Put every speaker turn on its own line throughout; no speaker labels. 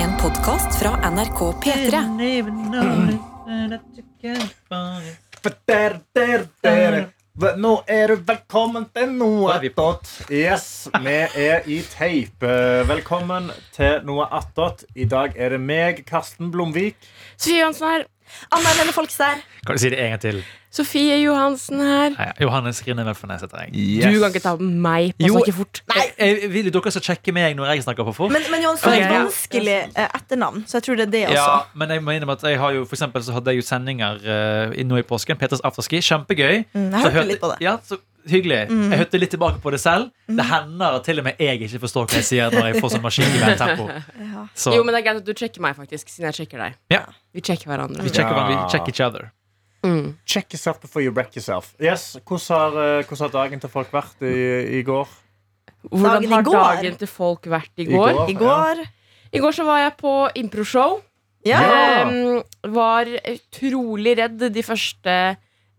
En podkast fra NRK P3.
Mm.
Nå er du velkommen til noe
Da er vi på.
attåt. Yes, vi er i teip. Eh, Velkommen til noe attåt. I dag er det meg, Karsten Blomvik.
Sofie Johansen her.
Ah,
Anna Helene Folks her.
Kan du si det en gang til?
Sofie Johansen her.
Nei, Johannes Rine Velfernes heter jeg.
Du kan ikke ta meg på å
Jo.
snakke fort.
Jeg, jeg vil jo dere skal sjekke meg når jeg snakker for fort.
Men, men Johansen er
Ok,
et
ja.
vanskelig eh, etternavn, så jeg tror det er altså. det også.
ja, men jeg må innrømme at jeg har jo, for eksempel, så hadde jeg jo sendinger eh, nå i påsken. Peters afterski. Kjempegøy.
Mm, jeg
Så
hørte litt på det. Mm.
Ja, så Hyggelig. Jeg hørte litt tilbake på det selv. Det hender at til og med jeg ikke forstår hva jeg sier når jeg får sånn maskingevært tempo.
Ja.
Så
Jo, men det er greit at du sjekker meg, faktisk, siden jeg sjekker deg.
Ja.
Vi sjekker hverandre.
vi sjekker, hverandre,
Ja.
vi check each other.
Mm.
Check yourself before you wreck yourself. Yes, Hvordan har, eh, hvordan har dagen til folk vært i, i går?
Hvordan
Dagen i
har
går.
dagen til folk vært i går? I går,
I går
så var jeg på improshow.
Ja.
Ja.
Ehm, var utrolig redd de første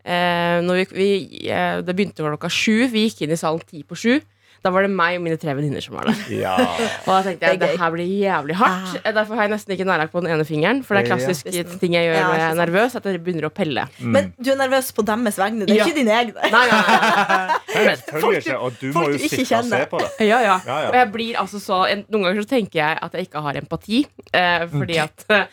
eh, når vi, vi, eh, Det begynte klokka sju. Vi gikk inn i salen ti på sju. Da var det meg og mine tre venninner som var der.
Ja.
Og da tenkte jeg
Det er
det
gøy.
her blir jævlig hardt. Eh, Derfor har jeg nesten ikke nærlagt på den ene fingeren. For det er
Ja.
klassisk ting jeg gjør
Ja,
når
ikke
jeg er
sant.
nervøs, at jeg begynner å pelle.
Mm.
Men du er nervøs på deres vegne. Det er
Ja.
ikke din egen.
Nei, nei, nei.
Selvfølgelig ikke. Og du må
folk
jo
du ikke
sitte og se
kjenner.
på det.
Ja, ja.
Ja, ja.
Og jeg blir altså så en, Noen ganger så tenker jeg at jeg ikke har empati. Eh, fordi at eh,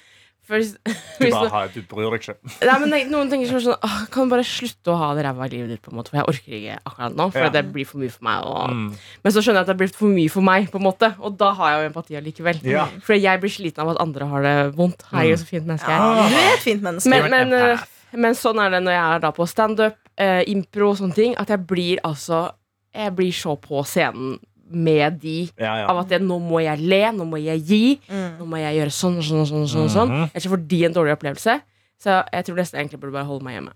først-
Du,
hvis-
bare, har- du bryr deg ikke.
nei, men jeg- Noen tenker sånn, sånn «Åh, Kan du bare slutte å ha det ræva i livet ditt, på en måte? For jeg orker ikke akkurat nå. For
Ja.
det blir for mye for meg. Og,
Mm.
Men så skjønner jeg at det har blitt for mye for meg, på en måte. Og da har jeg jo empati allikevel.
Ja. Mm.
For jeg blir sliten av at andre har det vondt. Herregud, så fint
Ah.
menneske jeg er.
Ja, Ah. du er et fint menneske.
Men, men,
You're an
eh, men sånn er det når jeg er da på standup, eh, impro og sånne ting, at jeg blir altså Jeg blir så på scenen med de
Ja, ja.
av at jeg, nå må jeg le, nå må jeg gi, nå må jeg gjøre sånn og sånn og sånn. og sånn, og sånn.
Mhm.
Ellers så får de en dårlig opplevelse. Så jeg tror nesten egentlig burde bare holde meg hjemme.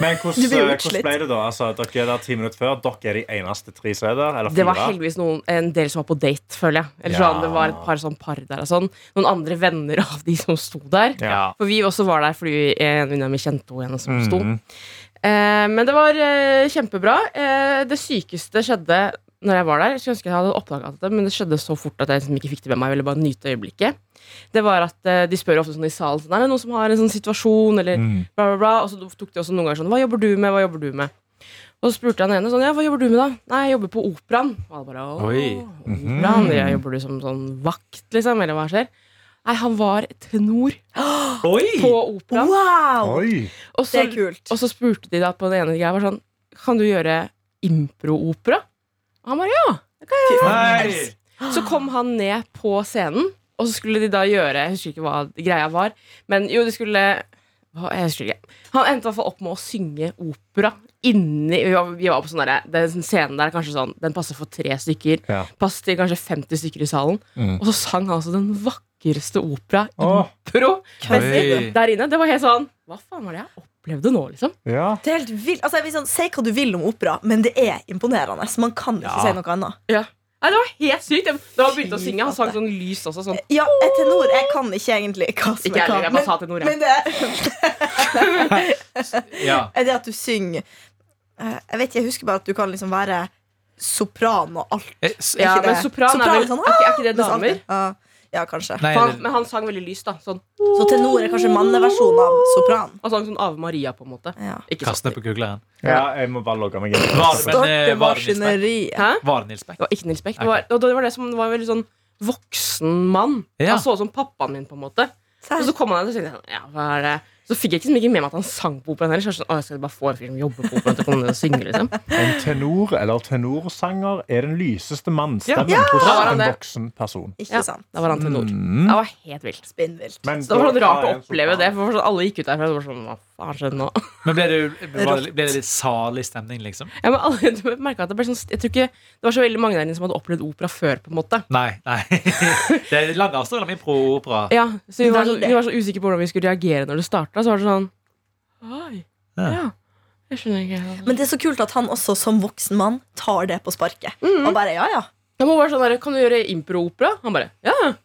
Men hvordan,
Du blir jo
hvordan ble det da? Altså, dere er der ti minutter før. Dere er de eneste tre som er der. Eller
Det var
fire.
heldigvis noen, en del som var på date, føler jeg. Eller sånn,
Ja.
Det var et par sånn par der og sånn. Noen andre venner av de som sto der.
Ja.
For vi også var der fordi en venninne av meg kjente henne, henne
Mm,
som sto.
Mhm.
Eh, men det var eh, kjempebra. Eh, det sykeste skjedde når jeg var der. Jeg skulle ønske jeg hadde oppdaget det, men det skjedde så fort at jeg liksom ikke fikk det med meg. Jeg ville bare nyte øyeblikket. Det var at eh, De spør ofte sånn i salen sånn, Er det noen som har en sånn situasjon, eller
Mm.
bla, bla, bla. Og så tok de også noen ganger sånn Hva jobber du med? Hva jobber du med? Og så spurte jeg den ene sånn Ja, hva jobber du med, da? Nei, jeg jobber på operaen. Og alle bare Åh,
Oi.
operaen? Ja, jobber du som sånn vakt, liksom? Eller hva skjer? Nei, han var tenor eh, på
Oi!
operaen.
Wow!
Oi.
Og
Det
så
er kult.
og så spurte de da på den ene greia var sånn Kan du gjøre impro-opera? Og han bare ja.
Hei!
Så kom han ned på scenen, og så skulle de da gjøre Jeg husker ikke hva greia var, men jo, de skulle hva- jeg husker ikke. Han endte i hvert fall opp med å synge opera inni Vi var, vi var på sånn derre- Den scenen der er kanskje sånn Den passer for tre stykker.
Ja.
Passer til kanskje 50 stykker i salen.
Mm.
Og så sang han altså den vakreste opera
Åh,
impro
Oi.
der inne. Det var helt sånn Hva faen var det jeg opplevde nå, liksom?
ja.
Det er helt vilt. Altså, jeg vil sånn, si hva du vil om opera, men det er imponerende. Man kan ikke
Ja.
si noe annet.
Nei, det var helt sykt. Jeg- Da han begynte å
Fy
synge, han sang
flate.
sånn lys også. Sånn.
Ja, et tenor. Jeg kan ikke egentlig hva som
Ikke jeg,
er hva.
jeg bare
Men,
sa til Nora.
men det
Ja.
er det at du synger eh, Jeg vet ikke, jeg husker bare at du kan liksom være sopran og alt.
Eh, s-
Ja,
ikke
men
det.
sopran er
Sopran,
vel
sånn,
er, ikke- er ikke det
Mens alt-
damer?
Ja, ja, kanskje.
Nei,
For Han,
det-
men han sang veldig lyst, da. Sånn.
Så tenor er kanskje manneversjonen av sopran.
Han sang sånn Ave Maria, på en måte.
Ja.
Ikke
kast ned
sånn.
på kugleren.
ja, jeg må bare logge meg inn.
Var det, men, eh, var det Nils Beck?
Startemaskineriet.
Hæ?
Var det Nils Beck?
Det var ikke Nils Beck. Det var, og det var det som var veldig sånn voksen mann.
Ja.
Han så ut som pappaen min, på en måte.
Serr?
Altså,
Og så kom han der og tenkte jeg sånn, ja, hva er det? Så fikk jeg liksom ikke med meg at han sang på operaen heller. Så jeg var sånn, å, jeg skal bare få en fyr som jobber på operaen til å komme ned og synge, liksom.
En tenor eller tenorsanger er den lyseste mannstemmen
Ja.
hos
Da var han
en
det.
voksen person.
Ikke
Ja.
sant?
Da var han tenor.
Mm.
Det var helt vilt.
Spinnvilt.
Men
Så det
da
var sånn rart
er
å
en
oppleve
sopran.
det. For sånn, alle gikk ut derfra og var sånn, hva faen skjedde nå?
Men ble det, var det, ble det litt salig stemning, liksom?
Ja, men alle, du merket at det ble sånn Jeg tror ikke det var så veldig mange der inne som hadde opplevd opera før. på en måte
Nei. nei Det er lang avstand mellom impro og opera.
Ja, Så vi var, så,
Veldig.
vi var så usikre på hvordan vi skulle reagere når det starta. Så var det sånn Oi,
Ja.
ja Jeg skjønner ikke helt.
Men det er så kult at han også som voksen mann tar det på sparket.
Mm.
Og bare, ja, ja.
Jeg må bare sånn der, Kan du gjøre impro-opera? Han bare Ja. Det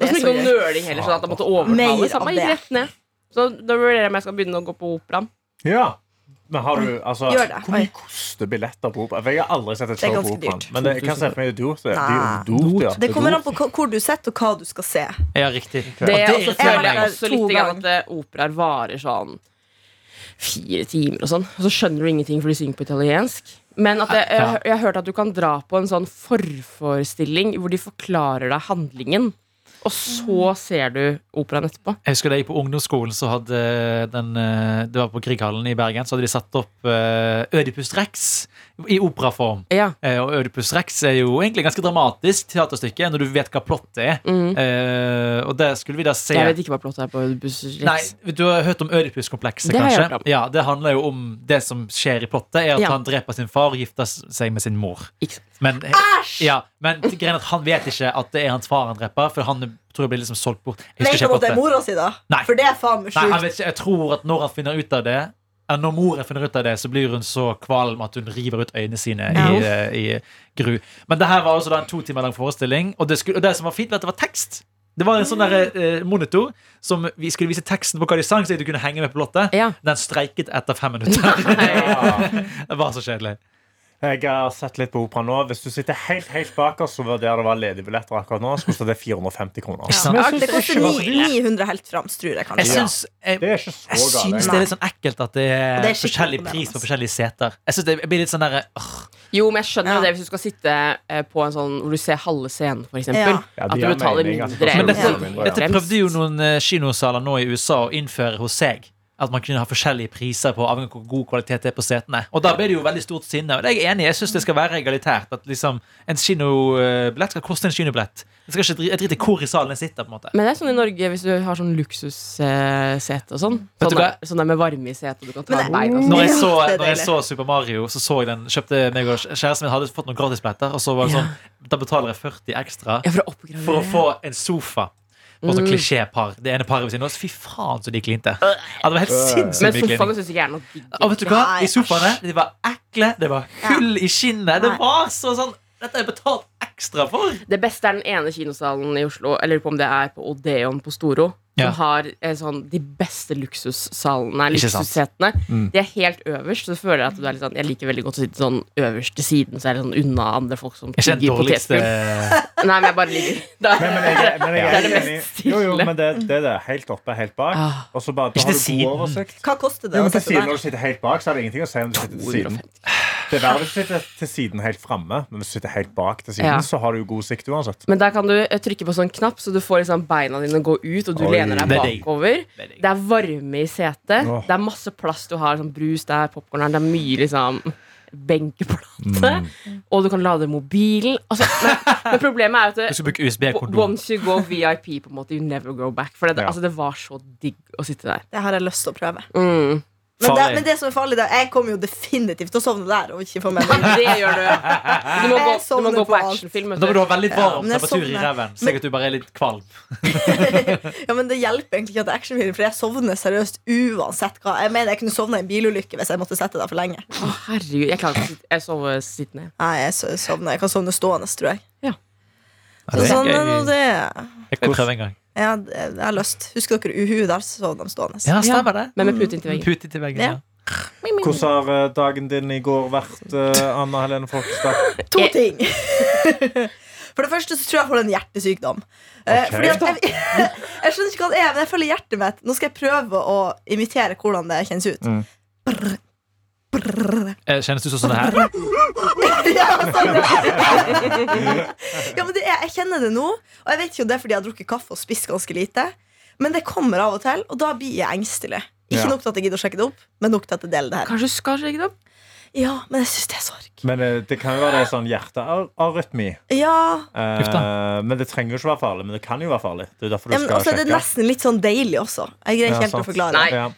Det
var
er
som
så
ikke noe
gøy.
nøling heller, sånn at han måtte overtale.
Mer
Så han
av
bare gikk
det.
rett ned. Så da vurderer jeg om jeg skal begynne å gå på operaen.
Ja. Men har du, altså,
Gjør det.
Hvor mye
Oi.
koster billetter på opera? For Jeg har aldri sett et
Det er
show på
ganske
operaen.
dyrt.
Men det, jeg kan se for meg det er dyrt. Det, det er
Nei.
jo dyrt, ja.
Det kommer an på hva- hvor du sitter, og hva du skal se.
Ja, riktig. Og
Det, og så
irriterer
føler
meg.
jeg
meg
også
to
litt grann
ganger.
at eh, operaer varer sånn fire timer og sånn. Og så skjønner du ingenting, for de synger på italiensk. Men at jeg,
Ja.
jeg, jeg har hørt at du kan dra på en sånn forforestilling hvor de forklarer deg handlingen, og så ser du operaen etterpå.
Jeg husker da jeg gikk på ungdomsskolen, så hadde den eh, Det var på Grieghallen i Bergen. Så hadde de satt opp eh, Ødipus rex i operaform.
Ja.
Eh, Og Ødipus rex er jo egentlig ganske dramatisk teaterstykke når du vet hva plottet er.
Mm.
Eh, og det skulle vi da se
Jeg vet ikke hva plottet er på Busser
Nei, du har hørt om Ødipus-komplekset,
Det har jeg hørt
kanskje?
om.
Ja, Det handler jo om det som skjer i plottet, er at
Ja.
han dreper sin far og gifter seg med sin mor.
Ikke sant.
Men, ja, men greien er at han vet ikke at det er hans far han dreper, for han tror jeg blir liksom solgt bort. Jeg
Vet
husker
han
ikke
at det er
plottet.
mora si, da?
Nei.
For det er faen meg
Nei, han
sjukt.
vet ikke, jeg tror at når han finner ut av det eller når moren finner ut av det, så blir hun så kvalm at hun river ut øynene sine i, eh, i gru. Men det her var også da en to timer lang forestilling, og det, skulle, og det som var fint, var at det var tekst. Det var en sånn der, eh, monitor som vi skulle vise teksten på hva de sang, så du kunne henge med på plottet.
Ja.
Den streiket etter fem minutter.
Ja.
det var så kjedelig.
Jeg har sett litt på opera nå. Hvis du sitter helt helt bak oss, så var der det var ledige billetter akkurat nå, så koster det 450 kroner.
sant?
Men jeg
Det
synes
koster
ikke var så ille.
900 helt frams, tror
Sånn. Jeg
jeg kanskje.
Ja.
syns, jeg,
Det er ikke
jeg
så
syns
galt.
det er litt sånn ekkelt at det er,
Det er skikkelig
forskjellig
imponerende,
pris på
altså.
forskjellige seter. Jeg synes det jeg blir litt sånn der, åh,
Jo, men jeg skjønner jo
Ja.
det hvis du skal sitte eh, på en sånn hvor du ser halve scenen, for eksempel.
Ja.
Ja,
at
de
du
har
betaler
mening at det koster
Men
mindre. enn
dette-
en
Ja.
Dette
brems.
prøvde jo noen eh, kinosaler nå i USA å innføre hos seg. At man kunne ha forskjellige priser på avhengig av hvor god kvalitet det er på setene. Og da ble det jo veldig stort sinne. Og det er jeg enig i. Jeg syns det skal være egalitært. At liksom en kinobillett skal koste en kinobillett. Det skal ikke dri- Jeg driter i hvor i salen jeg sitter. på en måte
Men det er sånn i Norge, hvis du har sånn luksussete og sånn.
Vet du
Sånn
hva?
der, sånn der med varme i setet, og du kan ta
Men
av
det-
beina og sånn.
Når jeg
Ja,
så,
det er
når jeg
deilig.
så Super Mario, så så jeg den kjøpte meg og kjæresten min hadde fått noen gratisbilletter. Og så var det
Ja.
sånn, da betaler jeg 40 ekstra
Ja, Mm. for å
for å
oppgradere.
få en sofa. Og sånn klisjépar. Det ene paret ved siden av oss. Fy faen, så de klinte. Ja, det var helt sinnssykt
Øh. Men
mye klining.
sofaene syns ikke jeg er noe digg.
Og vet du hva?
Nei,
I sofaene, de var ekle, det var hull i skinnet. Det
Nei.
var så sånn Dette har jeg betalt ekstra for!
Det beste er den ene kinosalen i Oslo, jeg lurer på om det er på Odeon på Storo, som
Ja.
har eh, sånn, de beste luksussalene, nei,
Ikke sant.
luksussetene. De er helt øverst, så føler jeg at du er litt sånn Jeg liker veldig godt å sitte sånn øverst til siden, så er det sånn unna andre folk som
Ikke den
tygger
dårligste
potetgull. Nei, men jeg bare ligger
Men,
der.
men jeg, men jeg
Det er det
er
mest
enig. Jo, jo,
stille.
men det, det er det. Helt oppe, helt bak.
Ah.
Og så bare, da
Ikke
har
til
du
siden.
god oversikt.
Hva koster det?
Jo,
å
men til
sitte
siden,
der?
når du sitter helt bak, så er det ingenting å si om du sitter til siden.
250.
Det er verre hvis du sitter til siden helt framme, men hvis du sitter helt bak til siden,
Ja.
så har du jo god sikt uansett.
Men der kan du eh, trykke på sånn knapp, så du får liksom beina dine gå ut, og du
Oi.
lener deg
Det er digg.
bakover.
Det er digg.
Det er varme i setet.
Åh.
Det er masse plass du har. Sånn brus der, popkorn der. Det er mye liksom benkeplate.
Mm.
Og du kan lade mobilen. Altså, men, men problemet er at
Du
det,
skal bruke USB-kondom.
Once you go VIP, på en måte, you never go back. For det,
Ja.
altså, det var så digg å sitte der.
Det har jeg lyst til å prøve.
Mm.
Men det,
Farlig.
men det som er farlig, da Jeg kommer jo definitivt til å sovne der. Og ikke få med meg
Det gjør du. Du må gå, du
Jeg
må
sovner
gå
på
på
alt.
actionfilm.
Da må du ha veldig
Ja,
varm
eh, men jeg
temperatur i
sovner.
ræven. Så at du bare er litt kvalm.
Ja, men Det hjelper egentlig ikke at det er actionfilm, for jeg sovner seriøst uansett hva. Jeg mener, jeg kunne sovna i en bilulykke hvis jeg måtte sette der for lenge.
Å, herregud, jeg klarer ikke å sitte Jeg sover sittende.
Nei, Jeg, so- sovner. jeg kan sovne stående, tror jeg.
Ja.
Så
det er
sånn
gøy.
er nå det.
Jeg kan prøve en gang.
Jeg har, jeg har lyst. Husker dere Uhu? Der sovna de stående.
Ja, stemmer det.
Men med pute inntil veggen.
Pute til veggen.
Ja.
Ja.
Hvordan har eh, dagen din i går vært, eh, Anna Helene Folkestad?
To
Jeg-
ting. For det første så tror jeg jeg får en hjertesykdom. Eh,
Ok.
Fordi at jeg, jeg skjønner ikke hva det er, men jeg føler hjertet mitt Nå skal jeg prøve å imitere hvordan det kjennes ut.
Mm.
Brr, brr.
Eh, Kjennes du som sånn her?
Ja, sånn. ja, men det er, jeg kjenner det nå, og jeg vet ikke om det er fordi jeg har drukket kaffe og spist ganske lite. Men det kommer av og til, og da blir jeg engstelig. Ikke
Ja.
nok til at jeg gidder å sjekke det opp, men nok til at jeg deler det her.
Kanskje du skal sjekke det opp?
Ja, men jeg syns det er sorg.
Men eh, det kan jo være det er sånn hjertearytmi.
Ja,
Eh,
Uff da.
men det trenger jo ikke være farlig. Men det kan jo være farlig. Det er derfor du
Ja, men
skal
også er det
sjekke.
nesten litt sånn deilig også. Jeg greier
Ja,
ikke helt
sant.
å forklare
Nei.
det.
Ja.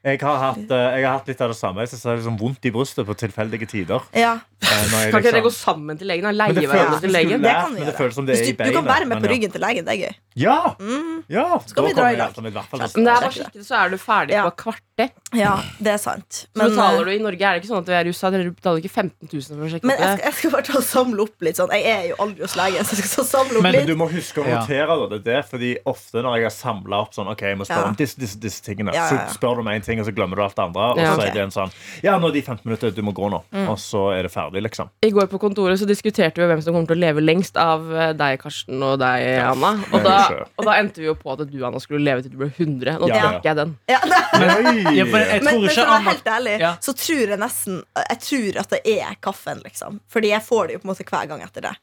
Jeg har, hatt, eh, jeg har hatt litt av det samme. Jeg synes det er liksom vondt i brystet på tilfeldige tider.
Ja,
eh, når jeg
Kan ikke dere gå
liksom-
sammen til legen? da?
Men
Leie
det føles-
hverandre til
skulle
legen?
Det kan
lært,
vi
men det
gjøre.
føles som det er
Hvis
i
du, du kan
beina,
være med
men
på
ja.
ryggen til legen. Det er gøy.
Ja!
Mm,
ja
Skal vi dra i lag?
i hvert fall.
Kjæresten.
Men det er bare
Sjekke det.
skikkelig, så er du ferdig
Ja.
på et kvarter.
ja, det er sant.
Så betaler
eh,
du i Norge. Er det ikke sånn at du er russa? Dere betaler ikke 15 000 for å sjekke
men jeg
det?
skal, jeg skal bare ta og samle opp litt sånn. Jeg er jo aldri hos legen, så jeg skal ta og samle opp
Men
Men
litt.
du må huske å
Ja.
notere da, det, er det fordi ofte når jeg har samla opp sånn Ok, jeg må spørre
Ja.
om disse, disse, disse tingene.
Ja, ja, ja.
Så spør du om én ting, og så glemmer du alt det andre. Og
Ja.
så
Ok. Mm.
er det en sånn Ja, nå er de 15 minutter, du må gå nå. Og så er det ferdig, liksom.
I går på kontoret så diskuterte vi hvem som kommer til å leve lengst av eh, deg, Karsten, og deg, Anna. Og da,
det er jo
og da endte vi jo på at du, Anna, skulle leve til du ble 100. Nå
Ja.
tok jeg den.
Ja, nei.
Oi!
Ja, for jeg
Men,
tror
men for
ikke
å være
Anna
helt ærlig,
Ja.
så tror jeg nesten Jeg tror at det er kaffen, liksom. Fordi jeg får det jo på en måte hver gang etter det.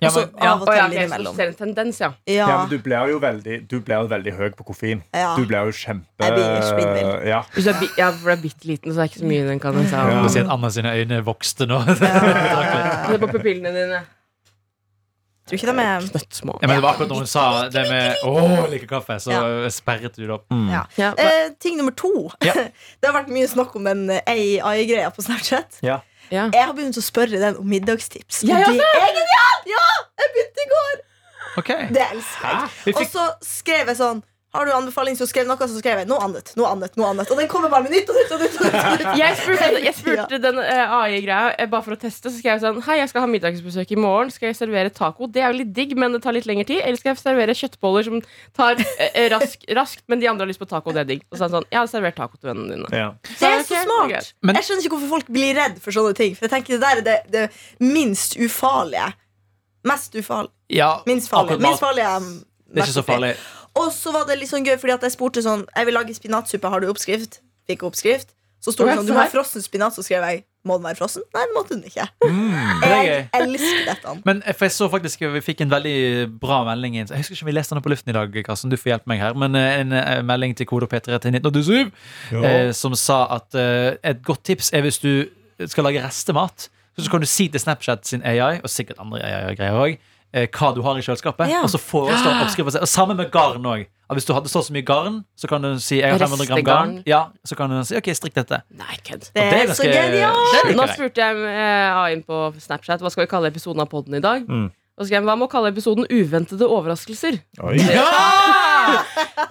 ja,
Altså,
men, ja,
av og
Og ja, ok, så
til
du
innimellom.
ser en tendens, ja.
Ja,
Ja, men du blir jo veldig Du blir jo veldig høy på koffein.
Ja.
Du blir jo kjempe
Jeg blir spinnvill.
Ja.
Hvis du er, bi- ja, for du er bitte liten, så det er ikke så mye den kan ta.
Jeg må si at Anna sine øyne vokste nå.
Se på pupillene dine.
tror ikke de er
Knøttsmå.
Ja, men det var akkurat når hun sa det med å jeg liker kaffe, så
Ja.
sperret du det opp.
ja.
Ja, men-
eh, Ting nummer to.
Ja.
det har vært mye snakk om den AI-greia på Snapchat.
Ja.
ja.
Jeg har begynt å spørre den om middagstips.
Ja, ja,
og det er genialt! Ja! Jeg begynte i går!
Ok
Det elsker jeg.
Vi
Og
fikk
så skrev jeg sånn Har du anbefaling, så skrev jeg noe, så skrev jeg noe annet. noe annet, noe annet Og den kommer bare med nytt og nytt og nytt. Og nytt, og nytt.
Jeg spurte,
Hele
jeg spurte den eh, AI-greia eh, bare for å teste. Så skrev jeg sånn Hei, jeg skal ha middagsbesøk i morgen. Skal jeg servere taco? Det er jo litt digg, men det tar litt lengre tid. Eller skal jeg servere kjøttboller som tar eh, rask, raskt, men de andre har lyst på taco? Det er digg. Og så sa han sånn Jeg har servert taco til vennene dine.
Ja.
Det er
Ok,
så
det er
smart.
greit.
Men-
jeg skjønner ikke hvorfor folk blir redd for sånne ting. For jeg tenker Det der er det, det minst ufarlige. Mest ufarlig.
ja,
Minst farlig.
akkurat
Minst
mat.
farlige. um,
Det er ikke så
mest
farlig.
Og så var det litt sånn gøy, fordi at jeg spurte sånn Jeg vil lage spinatsuppe, har du oppskrift? Fikk oppskrift. Så sto
Å,
det
jeg
sånn,
så
du har
her.
frossen spinat, så skrev jeg Må den være frossen? Nei, den måtte den ikke.
Det er
Jeg
gøy.
elsker dette.
Men for jeg så faktisk Vi fikk en veldig bra melding inn. Jeg husker ikke om vi leste den på luften i dag, Karsten. Du får hjelpe meg her. Men eh, en eh, melding til kode P3 til 1987 eh, som sa at eh, et godt tips er hvis du skal lage restemat, så så kan du si til Snapchat sin AI, og sikkert andre AI-greier òg, hva du har i kjøleskapet.
Ja. Ah.
Og så foreslå oppskriften. Og samme med garn òg. Hvis du hadde så og så mye garn, så kan du si jeg har 500 gram garn.
Restegarn.
Ja, så kan du si OK, strikk dette.
Nei, kødd.
Det
Og
er så genialt!
det liker
Nå
jeg.
spurte jeg eh, AI-en på Snapchat hva skal vi kalle episoden av podden i dag.
Mm.
Og så skrev jeg hva med å kalle episoden Uventede overraskelser?
Oi.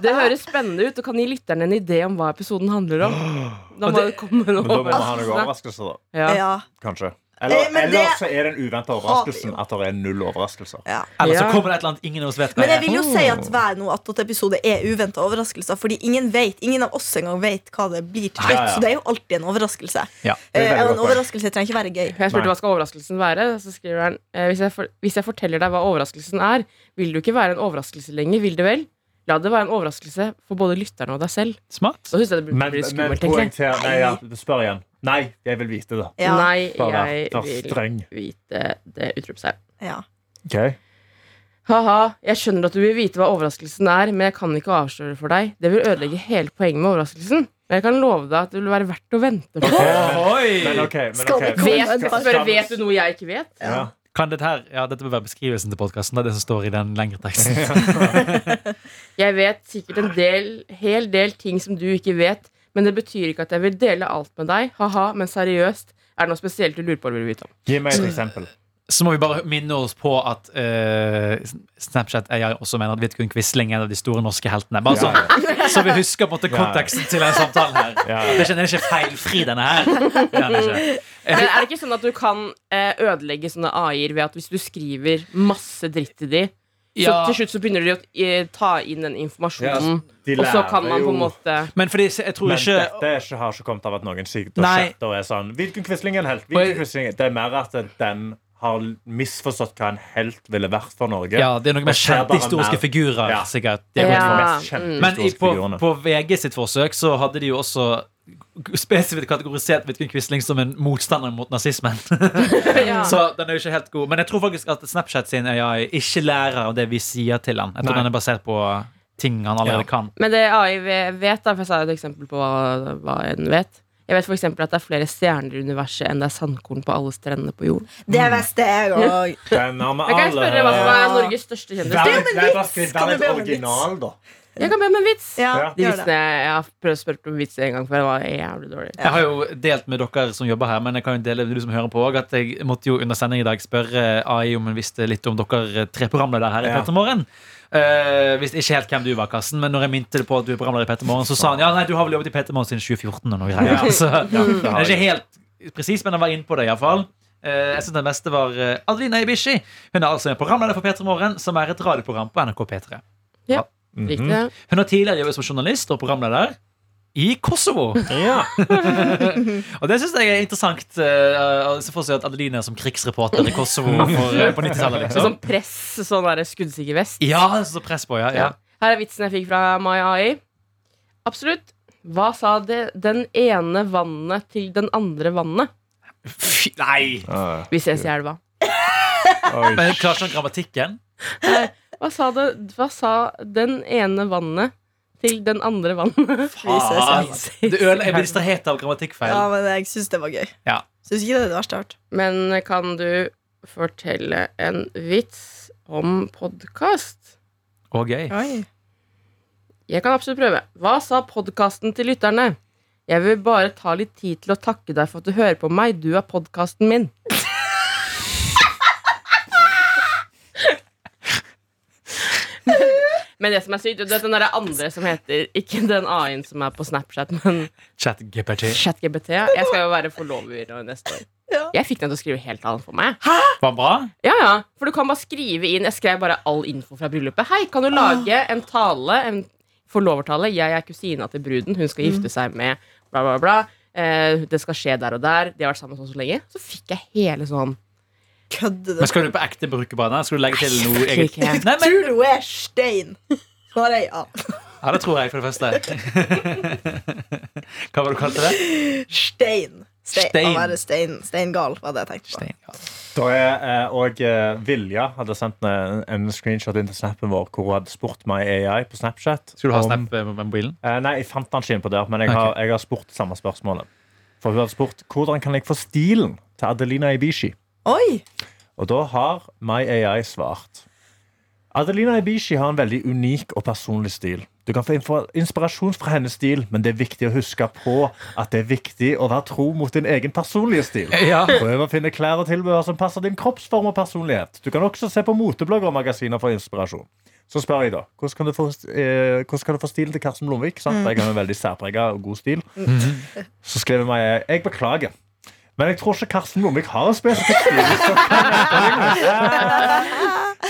Det høres spennende ut og kan gi lytterne en idé om hva episoden handler om. Da
Og
må det
det-
komme en
Men da må vi ha noen
overraskelse.
overraskelser, da.
Ja.
Ja,
Kanskje.
Eh,
Eller,
men
eller
det-
så er den uventa overraskelsen at det er null overraskelser.
ja.
Eller så
Ja.
kommer det et eller annet ingen av oss vet hva
Men jeg
er.
vil jo si at hver nå at dette episode er uventa overraskelser. Fordi ingen vet, ingen av oss engang vet hva det blir til
Ja, ja.
slutt. Så det er jo alltid en overraskelse.
Ja.
Det er
Eh,
veldig
og
godt
en
poeng.
overraskelse trenger ikke være gøy.
Jeg spurte
Nei.
hva skal overraskelsen være. Så skriver han eh, hvis jeg, for, hvis jeg forteller deg hva overraskelsen er, vil det jo ikke være en overraskelse lenger, vil det vel? La det være en overraskelse for både lytterne og deg selv.
Smart.
Nå synes jeg det blir,
Men,
blir
men
skummelt, tenker jeg.
poengter Nei, ja, spør igjen. Nei, jeg vil vite det.
Ja,
Nei,
Bare
jeg
vær
vil
streng.
vite det. Utropstegn.
ja.
Ha-ha, jeg skjønner at du vil vite hva overraskelsen er, men jeg kan ikke avsløre for deg. Det vil ødelegge hele poenget med overraskelsen. Men jeg kan love deg at det vil være verdt å vente på.
Men
Ohoi!
ok, men
Skal
ok.
vi komme-
Vet, spør, vet du noe jeg ikke vet?
Ja.
Kan dette her Ja, dette bør være beskrivelsen til podkasten. Det er det som står i den lengre teksten.
Jeg vet sikkert en del, hel del ting som du ikke vet, men det betyr ikke at jeg vil dele alt med deg. Ha-ha, men seriøst, er det noe spesielt du lurer på eller vil vite om?
Gi meg et eksempel.
Så må vi bare minne oss på at eh, Snapchat AI også mener at Vidkun Quisling er en av de store norske heltene. Bare
Ja,
så, så vi husker på en måte konteksten til den samtalen her.
Ja,
Det
ja.
er ikke, den er ikke feilfri, denne her. Det er den ikke.
Men er det ikke sånn at du kan eh, ødelegge sånne AI-er ved at hvis du skriver masse dritt til de, så
Ja,
til slutt så begynner de å eh, ta inn den informasjonen,
De
og så
lærer
kan man på en
jo-
måte
men fordi jeg tror
Men
ikke
dette er ikke, har ikke kommet av at noen sitter og
Nei.
chatter og er sånn Hvilken Quisling er en helt?
Og jeg-
Hvilken Quisling er-" Det er mer at den har misforstått hva en helt ville vært for Norge.
Ja, det er noe
Og
med
ser
kjente
bare
historiske
mer-
figurer,
Ja.
sikkert. Det
Det
er
er
godt
jo
for
de
meg.
Ja. Mm.
mest kjente
Men i,
historiske
på,
figurene.
på VG sitt forsøk så hadde de jo også spesifikt kategorisert Vidkun Quisling som en motstander mot nazismen.
ja.
Så den er jo ikke helt god. Men jeg tror faktisk at Snapchat sin AI ikke lærer av det vi sier til han. Jeg tror
Nei.
den er basert på ting han allerede
Ja.
kan.
Men det AI ve- vet, da, for jeg sa jo et eksempel på hva, hva en vet. Jeg vet for eksempel at det er flere stjerner i universet enn det er sandkorn på alle strendene på jorden.
Det visste jeg òg.
Den har vi
Jeg kan jeg spørre hva som
alle
er Norges største kjendis?
Vær-
men
nei, bare
vits!
skriv,
Kan
Vær
du be
litt
om en vits?
original, da.
Jeg kan be om en vits. De
Ja, gjør det.
vitsene jeg har prøvd å spørre om vitser en gang før, var jævlig dårlige.
Jeg har jo delt med dere som jobber her, men jeg kan jo dele med du som hører på også, at jeg måtte jo under sending i dag spørre AI om hun visste litt om dere eh, tre programledere her i
Ja.
Petter Morgen. Eh, visste ikke helt hvem du var, Karsten, men når jeg minte det på at du er programleder i Petter Morgen, så sa han ja, nei, du har vel jobbet i Petter Morgen siden 2014 og noe greier.
Ja.
Så,
Ja, det
det
har
er
jeg.
ikke helt presis, men han var inne på det iallfall. Uh, jeg synes den beste var eh, Adelina Ibishi. Hun er altså en programleder for P3 Morgen, som er et radioprogram på NRK P3.
Riktig.
Mhm.
Hun har tidligere jobbet som journalist og programleder i Kosovo.
Ja.
Og det syns jeg er interessant. eh, å se for seg at Adeline er som krigsreporter i Kosovo for, eh, på 90-tallet.
Med
Liksom.
sånn press, sånn der skuddsikker vest.
Ja, så press på, ja. ja.
Her er vitsen jeg fikk fra Maya AI. Absolutt. Hva sa det, den ene vannet til den andre vannet?
Fy, nei!
Ah,
Vi ses i elva.
oi.
Men klarte ikke grammatikken.
Hva sa, det, hva sa den ene vannet til den andre vannet?
Ah,
Faen.
Du ødela- jeg blir distrahert av
Ja,
grammatikkfeil.
men jeg syns det var gøy.
Ja.
Syns ikke det er det verste jeg har hørt.
Men kan du fortelle en vits om podkast?
Og gøy.
Oi.
Jeg kan absolutt prøve. Hva sa podkasten til lytterne? Jeg vil bare ta litt tid til å takke deg for at du hører på meg. Du er podkasten min. Men det som er sykt, du vet den der andre som heter Ikke den A-en som er på Snapchat, men
Chat GPT.
ChatGBT. Jeg skal jo være forlover neste år.
Ja.
Jeg fikk den til å skrive helt annet for meg.
Var den bra?
Ja, ja, for du kan bare skrive inn Jeg skrev bare all info fra bryllupet Hei, kan du lage en tale, en forlovertale Jeg er kusina til bruden, hun skal gifte seg med Bla, bla, bla eh, Det skal skje der og der De har vært sammen sånn så lenge Så fikk jeg hele sånn
Kødder du?
Men skal du på ekte bruke bare den? Skal du legge til noe
jeg
eget?
tror ikke.
Nei, men,
Tror du er stein? Svarer jeg ja.
ja, det tror jeg, for det første. Hva var det du kalte det?
Stein. Stein.
Stein.
Å være stein. Steingal, var det jeg tenkte på.
Stein, ja.
Da er eh, og eh, Vilja hadde sendt en, en screenshot inn til snappen vår hvor hun hadde spurt my AI på Snapchat.
Skal du ha
om-
snap eh, med mobilen?
Eh, nei, jeg fant den ikke innpå der, men jeg har, jeg har spurt samme spørsmålet. For hun hadde spurt hvordan kan jeg få stilen til Adelina Ibishi.
Oi!
Og da har My AI svart. Adelina Ibishi har en veldig unik og personlig stil. Du kan få info- inspirasjon fra hennes stil, men det er viktig å huske på at det er viktig å være tro mot din egen personlige stil.
Ja.
Prøv å finne klær og tilbehør som passer din kroppsform og personlighet. Du kan også se på moteblogger og magasiner for inspirasjon. Så spør jeg da, hvordan kan du få, eh, hvordan kan du få stilen til Karsten Blomvik? Sant? Jeg har en veldig særpreget og god stil. Så skrev jeg meg, jeg beklager. Men jeg tror ikke Karsten Blomvik har en spesifikk stil. så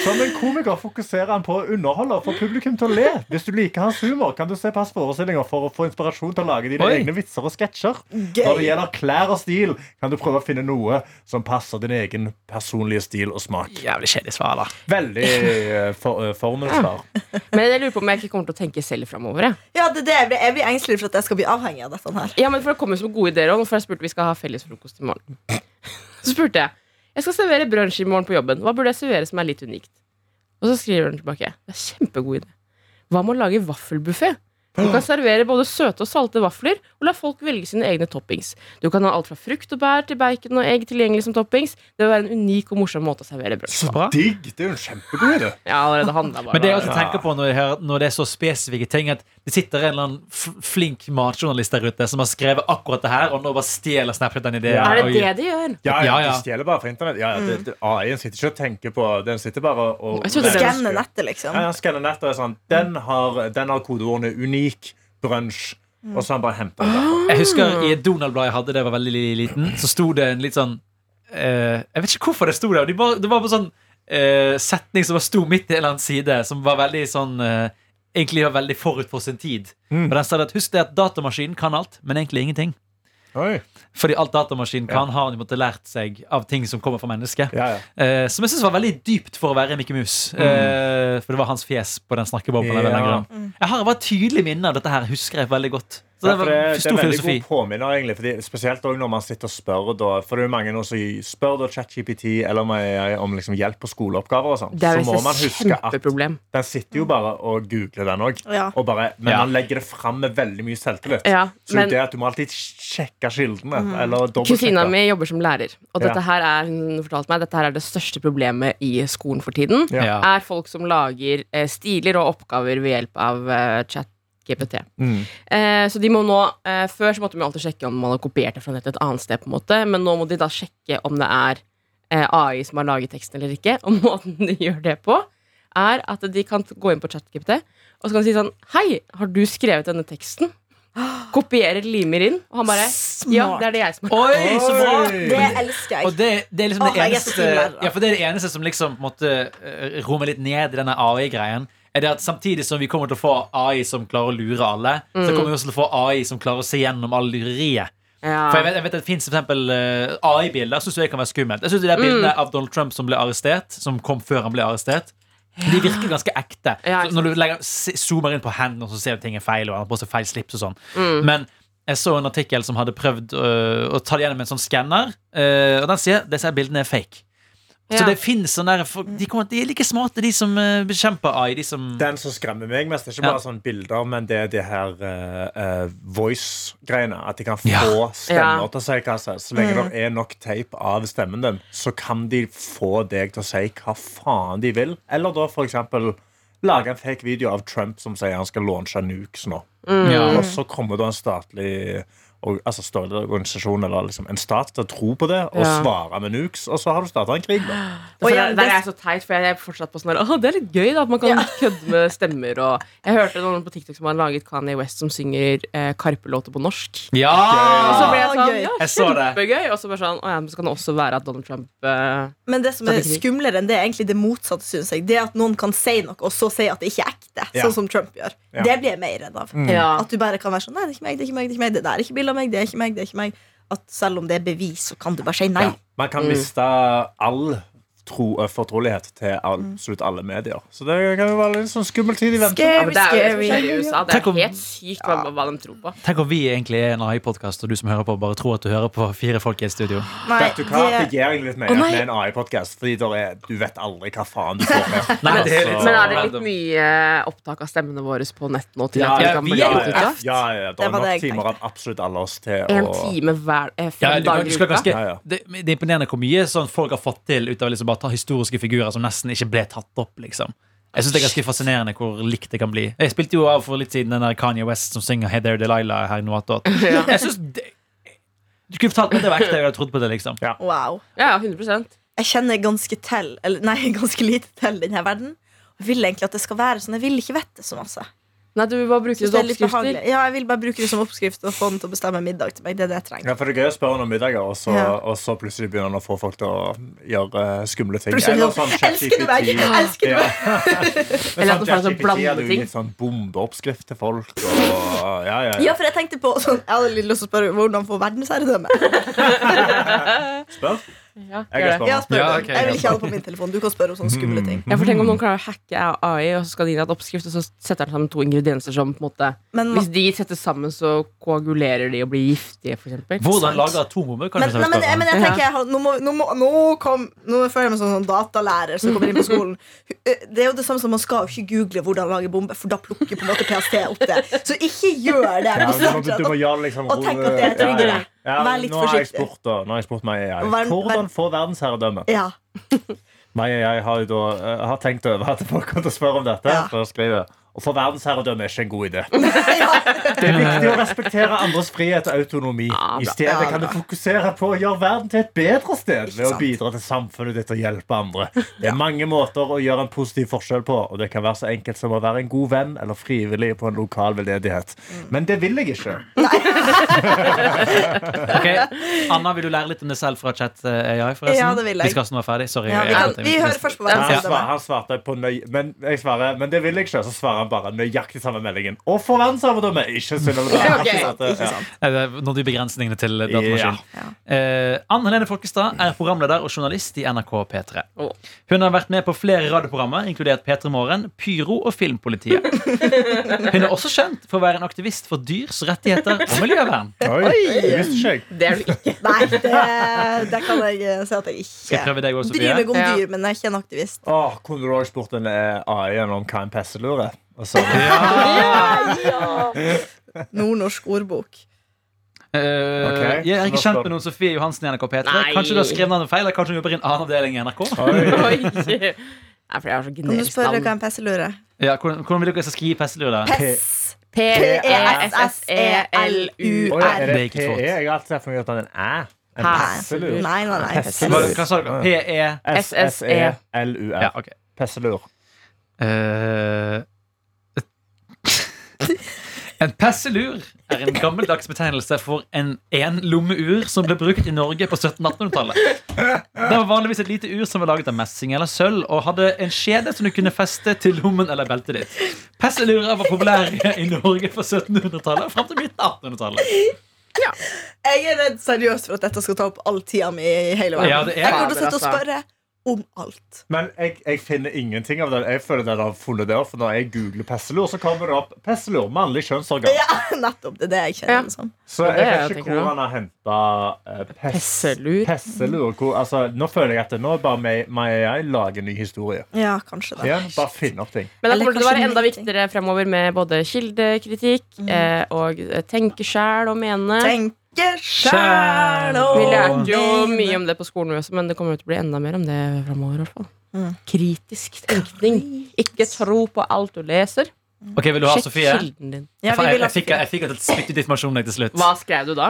Som en komiker fokuserer han på å underholde og få publikum til å le. Hvis du liker hans humor, kan du se på hans forestillinger for å få inspirasjon til å lage dine
Oi.
egne vitser og sketsjer.
Gøy.
Når det gjelder klær og stil, kan du prøve å finne noe som passer din egen personlige stil og smak.
Jævlig kjedelig svar, da.
Veldig eh, for, eh, formelsvar.
Men jeg lurer på om jeg ikke kommer til å tenke selv fremover jeg.
Ja, det er det. Jeg blir, jeg blir engstelig for at jeg skal bli avhengig av dette her.
Ja, men for det kommer som gode ideer også For jeg spurte vi skal ha felles frokost i morgen Så spurte jeg Jeg skal servere brunch i morgen på jobben Hva burde jeg servere som er litt unikt? Og så skriver hun tilbake Det er kjempegod idé Hva med å lage vaffelbuffet? Du kan servere både søte og salte vafler, og la folk velge sine egne toppings. Du kan ha alt fra frukt og bær til bacon og egg tilgjengelig som toppings. Det vil være en unik og morsom måte å servere brød.
Så bra.
Digg! Det er jo en kjempegod idé.
Jeg har allerede handla bare.
Men det altså- jeg alltid tenker på når, jeg hører, når det er så spesifikke ting, at det sitter en eller annen f- flink matjournalist der ute som har skrevet akkurat det her, og nå bare stjeler Snapchat den ideen.
Ja.
er
og
det
gir-
det de gjør?
Ja, ja,
Ja, ja.
De stjeler bare fra internett. Ja, ja, det, det, AI-en sitter ikke og tenker på Den sitter bare og
Jeg trodde det var-
Skanne nettet, liksom.
Ja, ja, skanner nettet og er sånn Den har, den har kodeordene unik, brunsj,
Mm.
og så har han bare henta det. derfra.
Jeg husker i et Donald-blad jeg hadde da jeg var veldig li- liten, så sto det en litt sånn eh, Jeg vet ikke hvorfor det sto der. og de var- Det var på sånn eh, setning som bare sto midt i en eller annen side, som var veldig sånn eh, Egentlig var veldig forut for sin tid.
Mm.
Og den sa det at husk det at datamaskinen kan alt, men egentlig ingenting.
Oi.
Fordi alt datamaskinen kan, har han jo måttet lært seg av ting som kommer fra mennesket.
Ja, ja.
Eh, som jeg synes var veldig dypt for å være Mikke Mus. Eh, for det var hans fjes på den snakkeboblen.
Mm. Ja.
Jeg har bare tydelig minne av dette her. Husker jeg veldig godt. Så det
Ja, for
var
det, det
stor
er veldig
filosofi.
god påminner, egentlig. Fordi, spesielt også når man sitter og spør. Da, for det er jo mange nå som spør da ChatGPT eller om, om liksom hjelp på skoleoppgaver og sånn.
Det er
Så må
visst
man
et
huske at
kjempeproblem.
den sitter jo bare og googler den òg.
Ja.
Men
Ja.
man legger det fram med veldig mye selvtillit.
Ja,
så
men- Mhm.
det at du må alltid sjekke kildene. Eller
Kusina
dobbeltsjekke.
mi jobber som lærer, og
Ja.
dette her er hun fortalte meg, dette her er det største problemet i skolen for tiden.
Ja.
Ja.
Er folk som lager eh, stiler og oppgaver ved hjelp av eh, chat-GPT.
Mm.
Eh, så de må nå, eh, Før så måtte man alltid sjekke om man har kopiert det fra nettet et annet sted, på en måte, men nå må de da sjekke om det er eh, AI som har laget teksten eller ikke. Og måten de gjør det på, er at de kan gå inn på ChatGPT og så kan de si sånn Hei, har du skrevet denne teksten? Kopierer, limer inn. Og han bare Ja, det er det jeg som har
Oi, så bra!
Oi.
Det elsker
Og
jeg.
det, det er liksom
Åh,
det
jeg er så
eneste
fin lærer.
Ja, for det er det eneste som liksom på en måte eh, rommer litt ned i denne AI-greien. Er det at Samtidig som vi kommer til å få AI som klarer å lure alle, så
Mm.
kommer vi også til å få AI som klarer å se gjennom all lureriet.
Ja.
For jeg vet, jeg vet at Det fins AI-bilder syns jeg kan være skummelt. Jeg synes de
Mm.
der Bildene av Donald Trump som ble arrestert, som kom før han ble arrestert, de virker ganske ekte.
Ja,
Så når du legger, se- zoomer inn på hendene, og så ser du ting er feil, og han har på seg feil slips og sånn.
Mm.
Men jeg så en artikkel som hadde prøvd øh, å ta det gjennom en sånn skanner, øh, og den sier disse her bildene er fake. Så
Ja.
det finnes sånn der, folk- de, kommer, de er like smarte, de som øh, bekjemper AI. De som,
Den som skremmer meg mest, er ikke
Ja.
bare sånne bilder, men det er det her eh, eh, voice-greiene. At de kan få
Ja.
stemmer
Ja.
til å si hva som helst. Så lenge det er nok tape av stemmen din, så kan de få deg til å si hva faen de vil. Eller da for eksempel lage en fake video av Trump som sier han skal launche nukes nå.
Mm.
Ja.
Og så kommer da en statlig og- altså statlig organisasjon eller liksom en stat til å tro på det og
Ja.
svare med nukes, og så har du starta en krig, da.
Og
Og
jeg, der
igjen, det-
er jeg så teit, for jeg er fortsatt på sånn her, «Åh, Det er litt gøy da, at man kan kødde med stemmer. Og jeg hørte noen på TikTok som har laget Kanye West som synger eh, Karpe-låter på norsk.
ja!
Og så ble jeg
Ah,
sånn,
gøy.
ja,
Jeg så det.
kjempegøy Og så bare sånn, å ja, men så kan det også være at Donald Trump eh,
Men det som
Så
er
det er krig.
skumlere enn det, er egentlig det motsatte. Synes jeg Det at noen kan si noe, og så si at det ikke er ekte.
Ja.
Sånn som Trump gjør.
Ja. Mm.
Det blir jeg mer redd av.
Ja.
At du bare kan være sånn Nei, det er ikke meg, det er ikke meg, det er ikke meg. Det der er ikke bilde av meg, det er ikke meg, det er ikke meg. At selv om det er bevis, så kan du bare si nei.
Ja. Man kan miste all tro, eh, fortrolighet til absolutt alle medier. Så det kan jo være litt sånn skummel tid i vente.
ja, men Det er jo det som skjer i
Scary.
USA. Det
Tenk om-
er helt sykt hva, hva de tror på.
Tenk om vi egentlig er en AI-podkast, og du som hører på, bare tror at du hører på fire folk i et studio.
Nei,
Vet du hva? Det
det,
gir jeg litt mer
Å, nei.
med en AI-podkast, Fordi der er, du vet aldri hva faen du får med.
Nei, det er litt
Men
sånn-
er det
Ah, random.
litt mye eh, opptak av stemmene våre på nett nå? Til
Ja,
at vi
ja,
kan
vi
bli
er jo
godt
ja,
ut av?
ja, ja, det
Det
er
var
nok
det jeg
timer av absolutt alle oss til å
En time hver eh,
Ja, du kan,
fem dager
du
i
skal
uka?
ganske,
Ja, ja.
Det, det er imponerende hvor mye sånn folk har fått til ut av liksom bare å ta historiske figurer som nesten ikke ble tatt opp. liksom jeg synes Det er ganske fascinerende hvor likt det kan bli. Jeg spilte jo av for litt siden den der Kanye West som synger Hey There Delilah her i Noatot. Jeg synes det, Du kunne fortalt meg det var ekte, jeg hadde trodd på det. liksom
Ja.
wow.
Ja, ja, 100
Jeg kjenner ganske til Eller nei, ganske lite til denne verden. Jeg vil egentlig at det skal være sånn. Jeg vil ikke vite så masse.
Nei, du bare bruker
Synes
det
det
til
er litt
oppskrifter.
behagelig. Ja, jeg vil bare bruke det som oppskrift og få den til å bestemme middag til meg. Det er det jeg trenger.
Ja, for Det er gøy å spørre om middager, og så,
Ja.
og så plutselig begynner han å få folk til å gjøre eh, skumle ting.
Plutselig
Eller
sånn,
sånn
elsker du meg?
ChatGPT.
Elsker du
Ja. Men
Eller at
sånn
du får en sånn
ChatGPT hadde jo
blandeting.
gitt Sånn bombeoppskrift til folk. Og, ja, ja,
Ja,
ja.
for jeg tenkte på sånn, Jeg hadde litt lyst til å spørre hvordan få verdensherredømme.
Spør.
Ja, Mm.
Jeg
gjør
kan
det.
spørre.
Ja, spør
Ja,
den.
ok,
jeg vil
ja.
ikke ha det på min telefon. Du kan spørre om sånne skumle ting.
Ja, for tenk
Mm.
om noen klarer å hacke AI, og så skal de inn i et oppskrift, og så setter de sammen to ingredienser som på en måte
Men
Mm.
Hvis de settes sammen, så koagulerer de og blir giftige, for eksempel.
Hvordan lage atombomber?
men,
kanskje
nei, men, jeg, men jeg
Ja.
tenker jeg har, nå, må, nå, må, nå, kom, nå føler jeg meg som en sånn datalærer som kommer inn på skolen. eh, Det er jo det samme som Man skal jo ikke google hvordan lage bombe, for da plukker på en måte PST opp det. Så ikke gjør det.
Ja, du, må, du må gjøre liksom
Og tenk at det er tryggere. Vær litt
nå har jeg
forsiktig.
spurt, da. Nå har jeg spurt meg AI.
Og vær-
Hvordan få verdensherredømme?
Ja.
Meg AI har, jo da, eh, har tenkt over at folk kommer til å spørre om dette.
Ja.
For å skrive Å få verdensherredømme er ikke en god idé.
Ja.
Det er viktig å respektere andres frihet og autonomi.
Ja, bra.
I stedet
Eh. Ja,
kan du
bra.
fokusere på å gjøre verden til et bedre sted ved å
sant.
bidra til samfunnet ditt og hjelpe andre. Det er mange måter å gjøre en positiv forskjell på, og det kan være så enkelt som å være en god venn eller frivillig på en lokal veldedighet.
Mm.
Men det vil jeg ikke.
Ok. Anna, vil du lære litt om det selv fra chat eh, AI? forresten?
Ja, det vil jeg.
Vi skal snart være ferdig. Sorry.
Ja, vi,
jeg-
kan,
jeg-
vi hører først på
Han,
verdensherredømme.
svar, han svarte på nøy, men jeg svarer, men det vil jeg ikke. Så svarer han han bare nøyaktig samme meldingen. Og forvandsamedømme! Ikke Synnøve Dahl.
Ok,
Ikke sant?
Ikke
Ja.
sant?
Eh, Nådde vi begrensningene til datamaskinen.
Ja.
Eh, Anne Helene Folkestad er programleder og journalist i NRK P3.
Å.
Hun har vært med på flere radioprogrammer, inkludert P3 Morgen, Pyro og Filmpolitiet. Hun er også kjent for å være en aktivist for dyrs rettigheter og miljøvern.
Oi, det visste ikke jeg.
Det er du ikke.
Nei, det, det kan jeg eh, si at
Skal jeg
jeg ikke
prøve deg også,
bryr meg
Sofie?
om
Ja.
dyr, men jeg er ikke en aktivist.
Åh, kunne du også spurt en eh, AI om hva en pesselur er? Og så-
Nordnorsk ordbok.
Eh,
Ok,
jeg er ikke
så
kjent
nå
med noen Sofie Johansen i NRK P3.
Nei.
Kanskje du har skrevet navnet feil? Eller kanskje hun jobber i en annen avdeling i NRK?
Oi.
Oi. Nei, for jeg har så
Kan du
generisk
spørre hva
navn.
en pesselur er?
Ja, hvordan, hvordan vil dere jeg skal skrive pesselur? da?
Pess!
E.
Oi,
E
P-E-S-S-E-L-U-R.
er
Det
det
er ikke
PE?
svårt.
E?
Jeg har alltid sett for meg at han er en æ. En
Nei,
pesselur.
nei, nei.
Hva,
pesselur.
Pesselur.
hva sa dere? PE
E
E
S-S-E-L-U-R.
Ja, ok.
Pesselur.
Eh, en pesselur er en gammeldags betegnelse for en enlommeur som ble brukt i Norge på 1700-1800-tallet. Det var vanligvis et lite ur som var laget av messing eller sølv, og hadde en skjede som du kunne feste til lommen eller beltet ditt. Pesselurer var populære i Norge på 1700-tallet og fram til midten av 1800-tallet.
Jeg er redd seriøst for at dette skal ta opp all tida mi i hele
Ja,
verden.
det
Jeg
er
kommer til å sitte og
altså.
spørre om alt.
Men jeg, jeg finner ingenting av den. Jeg føler den har funnet det opp. For når jeg googler pesselur, så kommer det opp pesselur, mannlig kjønnsorgan.
Ja, nettopp. Det er det jeg
Ja.
kjenner det som.
Så
Ja, det
jeg vet
er jeg
ikke
tenker
hvor
da.
han har henta
Pesselur.
Pesselur. Hvor, altså, nå føler jeg at det- nå er bare meg, meg og jeg lager en ny historie.
Ja, kanskje det.
Ja, bare finn opp ting.
Men da
Eller
kommer det til å
kanskje Mm.
være enda
mye ting.
viktigere fremover med både kildekritikk eh, og eh, tenke sjæl og mene.
Tenke sjæl og
Vi lærte jo mye
mene.
om det på skolen, også, men det kommer jo til å bli enda mer om det fremover. i hvert fall.
Mm.
Kritisk tenkning. Ikke tro på alt du leser.
Ok, Vil du ha
Sjekk
Sofie?
kilden din.
Ja,
Faen,
vi
jeg,
vil ha
jeg fikk, jeg fikk et spytt ut informasjon jeg til slutt.
Hva skrev du da?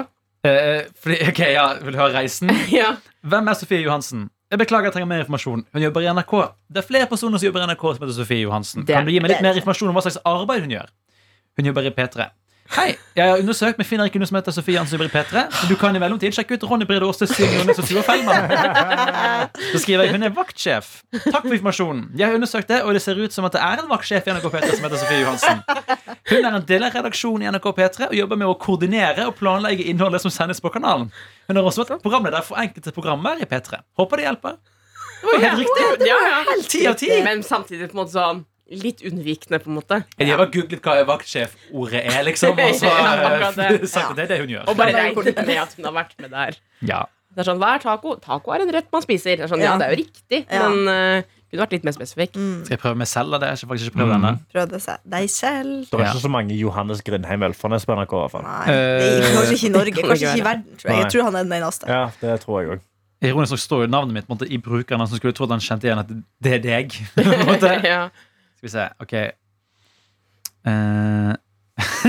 Eh, fordi, ok, ja, Vil du ha reisen?
ja.
Hvem er Sofie Johansen? Jeg beklager, jeg trenger mer informasjon. Hun jobber i NRK. Det er flere personer som jobber i NRK som heter Sofie Johansen.
Det-
Kan du gi meg litt mer informasjon om hva slags arbeid hun gjør? Hun jobber i P3. Hei, jeg har undersøkt, men finner ikke noe som heter Sofie Johansen som jobber i P3. Men du kan i mellomtid sjekke ut Ronny Brede Aastes Sigurd Nordnes og Tuva Fellmann. Så skriver jeg hun er vaktsjef. Takk for informasjonen. Jeg har undersøkt det, og det ser ut som at det er en vaktsjef i NRK P3 som heter Sofie Johansen. Hun er en del av redaksjonen i NRK P3 og jobber med å koordinere og planlegge innholdet som sendes på kanalen. Hun har også vært programleder for enkelte programmer i P3. Håper det hjelper. Det var jo helt riktig!
ja, ja.
Ti av ti!
Men samtidig på en måte sånn litt unnvikende, på en måte.
Jeg har bare googlet hva vaktsjef-ordet er, liksom. Og så
Ja, akkurat
eh,
det.
sagt at det er det hun gjør.
Og bare
Ja.
regnet med at hun har vært med der.
Ja.
Det er sånn, Hva er taco? Taco er en rett man spiser. Det er sånn, ja,
Ja.
det er jo riktig,
Ja.
men eh, kunne vært litt mer spesifikk.
Skal jeg prøve meg selv? da? Det har jeg faktisk ikke prøvd ennå.
prøvde seg deg selv.
Det var
Ja.
ikke så mange Johannes Grindheim Ølfarnes på NRK. i hvert fall.
Nei,
Eh,
det gikk kanskje ikke i Norge.
Kan ikke
Kanskje ikke i
være.
verden, tror jeg. Jeg
Nei.
tror han er den eneste.
Ja, det tror jeg òg.
Ironisk nok står jo navnet mitt på en måte, i brukeren, så skulle jeg trodd han kjente igjen at det er deg. På en måte.
ja.
Skal vi se, ok Eh,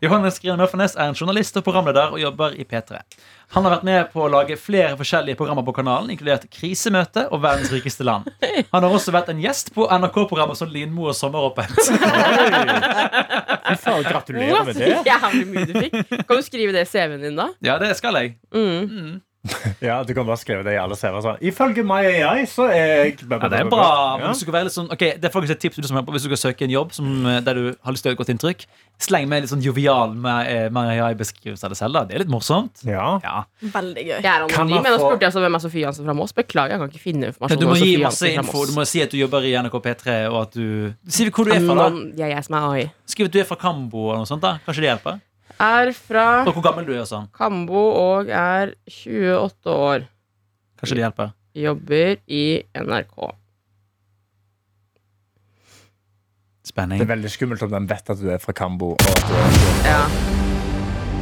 Johannes Grine Mørfernes er en journalist og programleder og jobber i P3. Han har vært med på å lage flere forskjellige programmer på kanalen, inkludert Krisemøte og Verdens rikeste land. Han har også vært en gjest på NRK-programmer som Linmo og Sommeråpent.
Fy faen, Gratulerer med det.
Jævlig mye du fikk. Kan du skrive det i CV-en din, da?
Ja, det skal jeg.
Mm.
Mm.
Ja, Du kan bare skrive det i alle CV-er. sånn. Ifølge meg og jeg, så er jeg
Ja, det er bra. Men
Ja.
hvis du skal være litt sånn, ok, det er faktisk et tips til du som hører på hvis du skal søke en jobb som, eh, der du har lyst til å gjøre et godt inntrykk. Sleng med litt sånn jovial Mariai-beskrivelse av deg selv. da. Det er litt morsomt.
Ja.
Ja.
Veldig gøy.
Jeg er
Kan
anonym,
man
men da
få-
spurte jeg altså hvem er Sofie Jansen fra Moss. Beklager, jeg kan ikke finne
Men
informasjon.
Altså, du må
om
gi
Sofie
masse
Jansen fra
info.
Moss.
Du må si at du jobber i NRK P3, og at du Si hvor du er fra, da.
Anon- Jeg er jeg som er AI.
Skriv at du er fra Kambo, eller noe sånt. da Kanskje det hjelper?
Er fra
Og hvor gammel du er og sånn.
Kambo og er 28 år.
Kanskje det hjelper.
Jobber i NRK.
Det
Spenning.
er veldig skummelt om den vet at du er fra Kambo. Og at du er
Ja.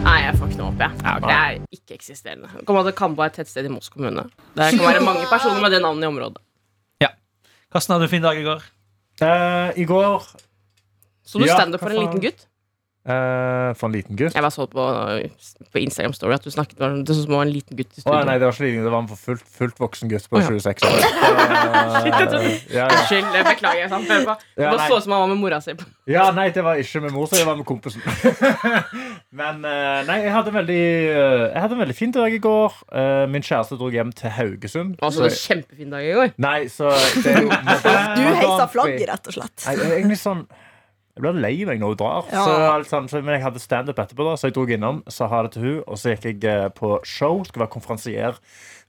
Nei, jeg får ikke noe opp, jeg.
Ja, ok.
Det er ikke-eksisterende. Det Kommer at Kambo er et tettsted i Moss kommune. Det kan være mange personer med det navnet i området.
Karsten, hadde du en fin dag i går?
Eh, I går
Så du
Ja,
standup
hva
for en
faen?
liten gutt?
eh, for en liten gutt.
Jeg bare så på, på Instagram Story at du snakket med Det så ut som om en liten gutt i
Å nei,
studio.
det var ikke liten, det var en for fullt, fullt voksen gutt på
Å, ja.
26 år. Eh,
Shit, jeg trodde-
ja, ja.
Unnskyld. jeg Beklager. sant? Det bare, det
Ja,
bare
nei.
så ut som han var med mora si.
Ja, nei, det var ikke med mor, så det var med kompisen. Men eh, nei, jeg hadde en veldig, eh, jeg hadde en veldig fin dag i går. Eh, min kjæreste dro hjem til Haugesund.
Altså,
Så-
kjempefin dag i går.
nei, så det er jo
Du heisa flagget, rett og slett.
Nei, jeg er egentlig sånn jeg blir lei meg når hun drar.
Ja.
Så, alt sånn, så, men jeg hadde standup etterpå, da, så jeg dro innom, sa ha det til hun, og så gikk jeg eh, på show. Skulle være konferansier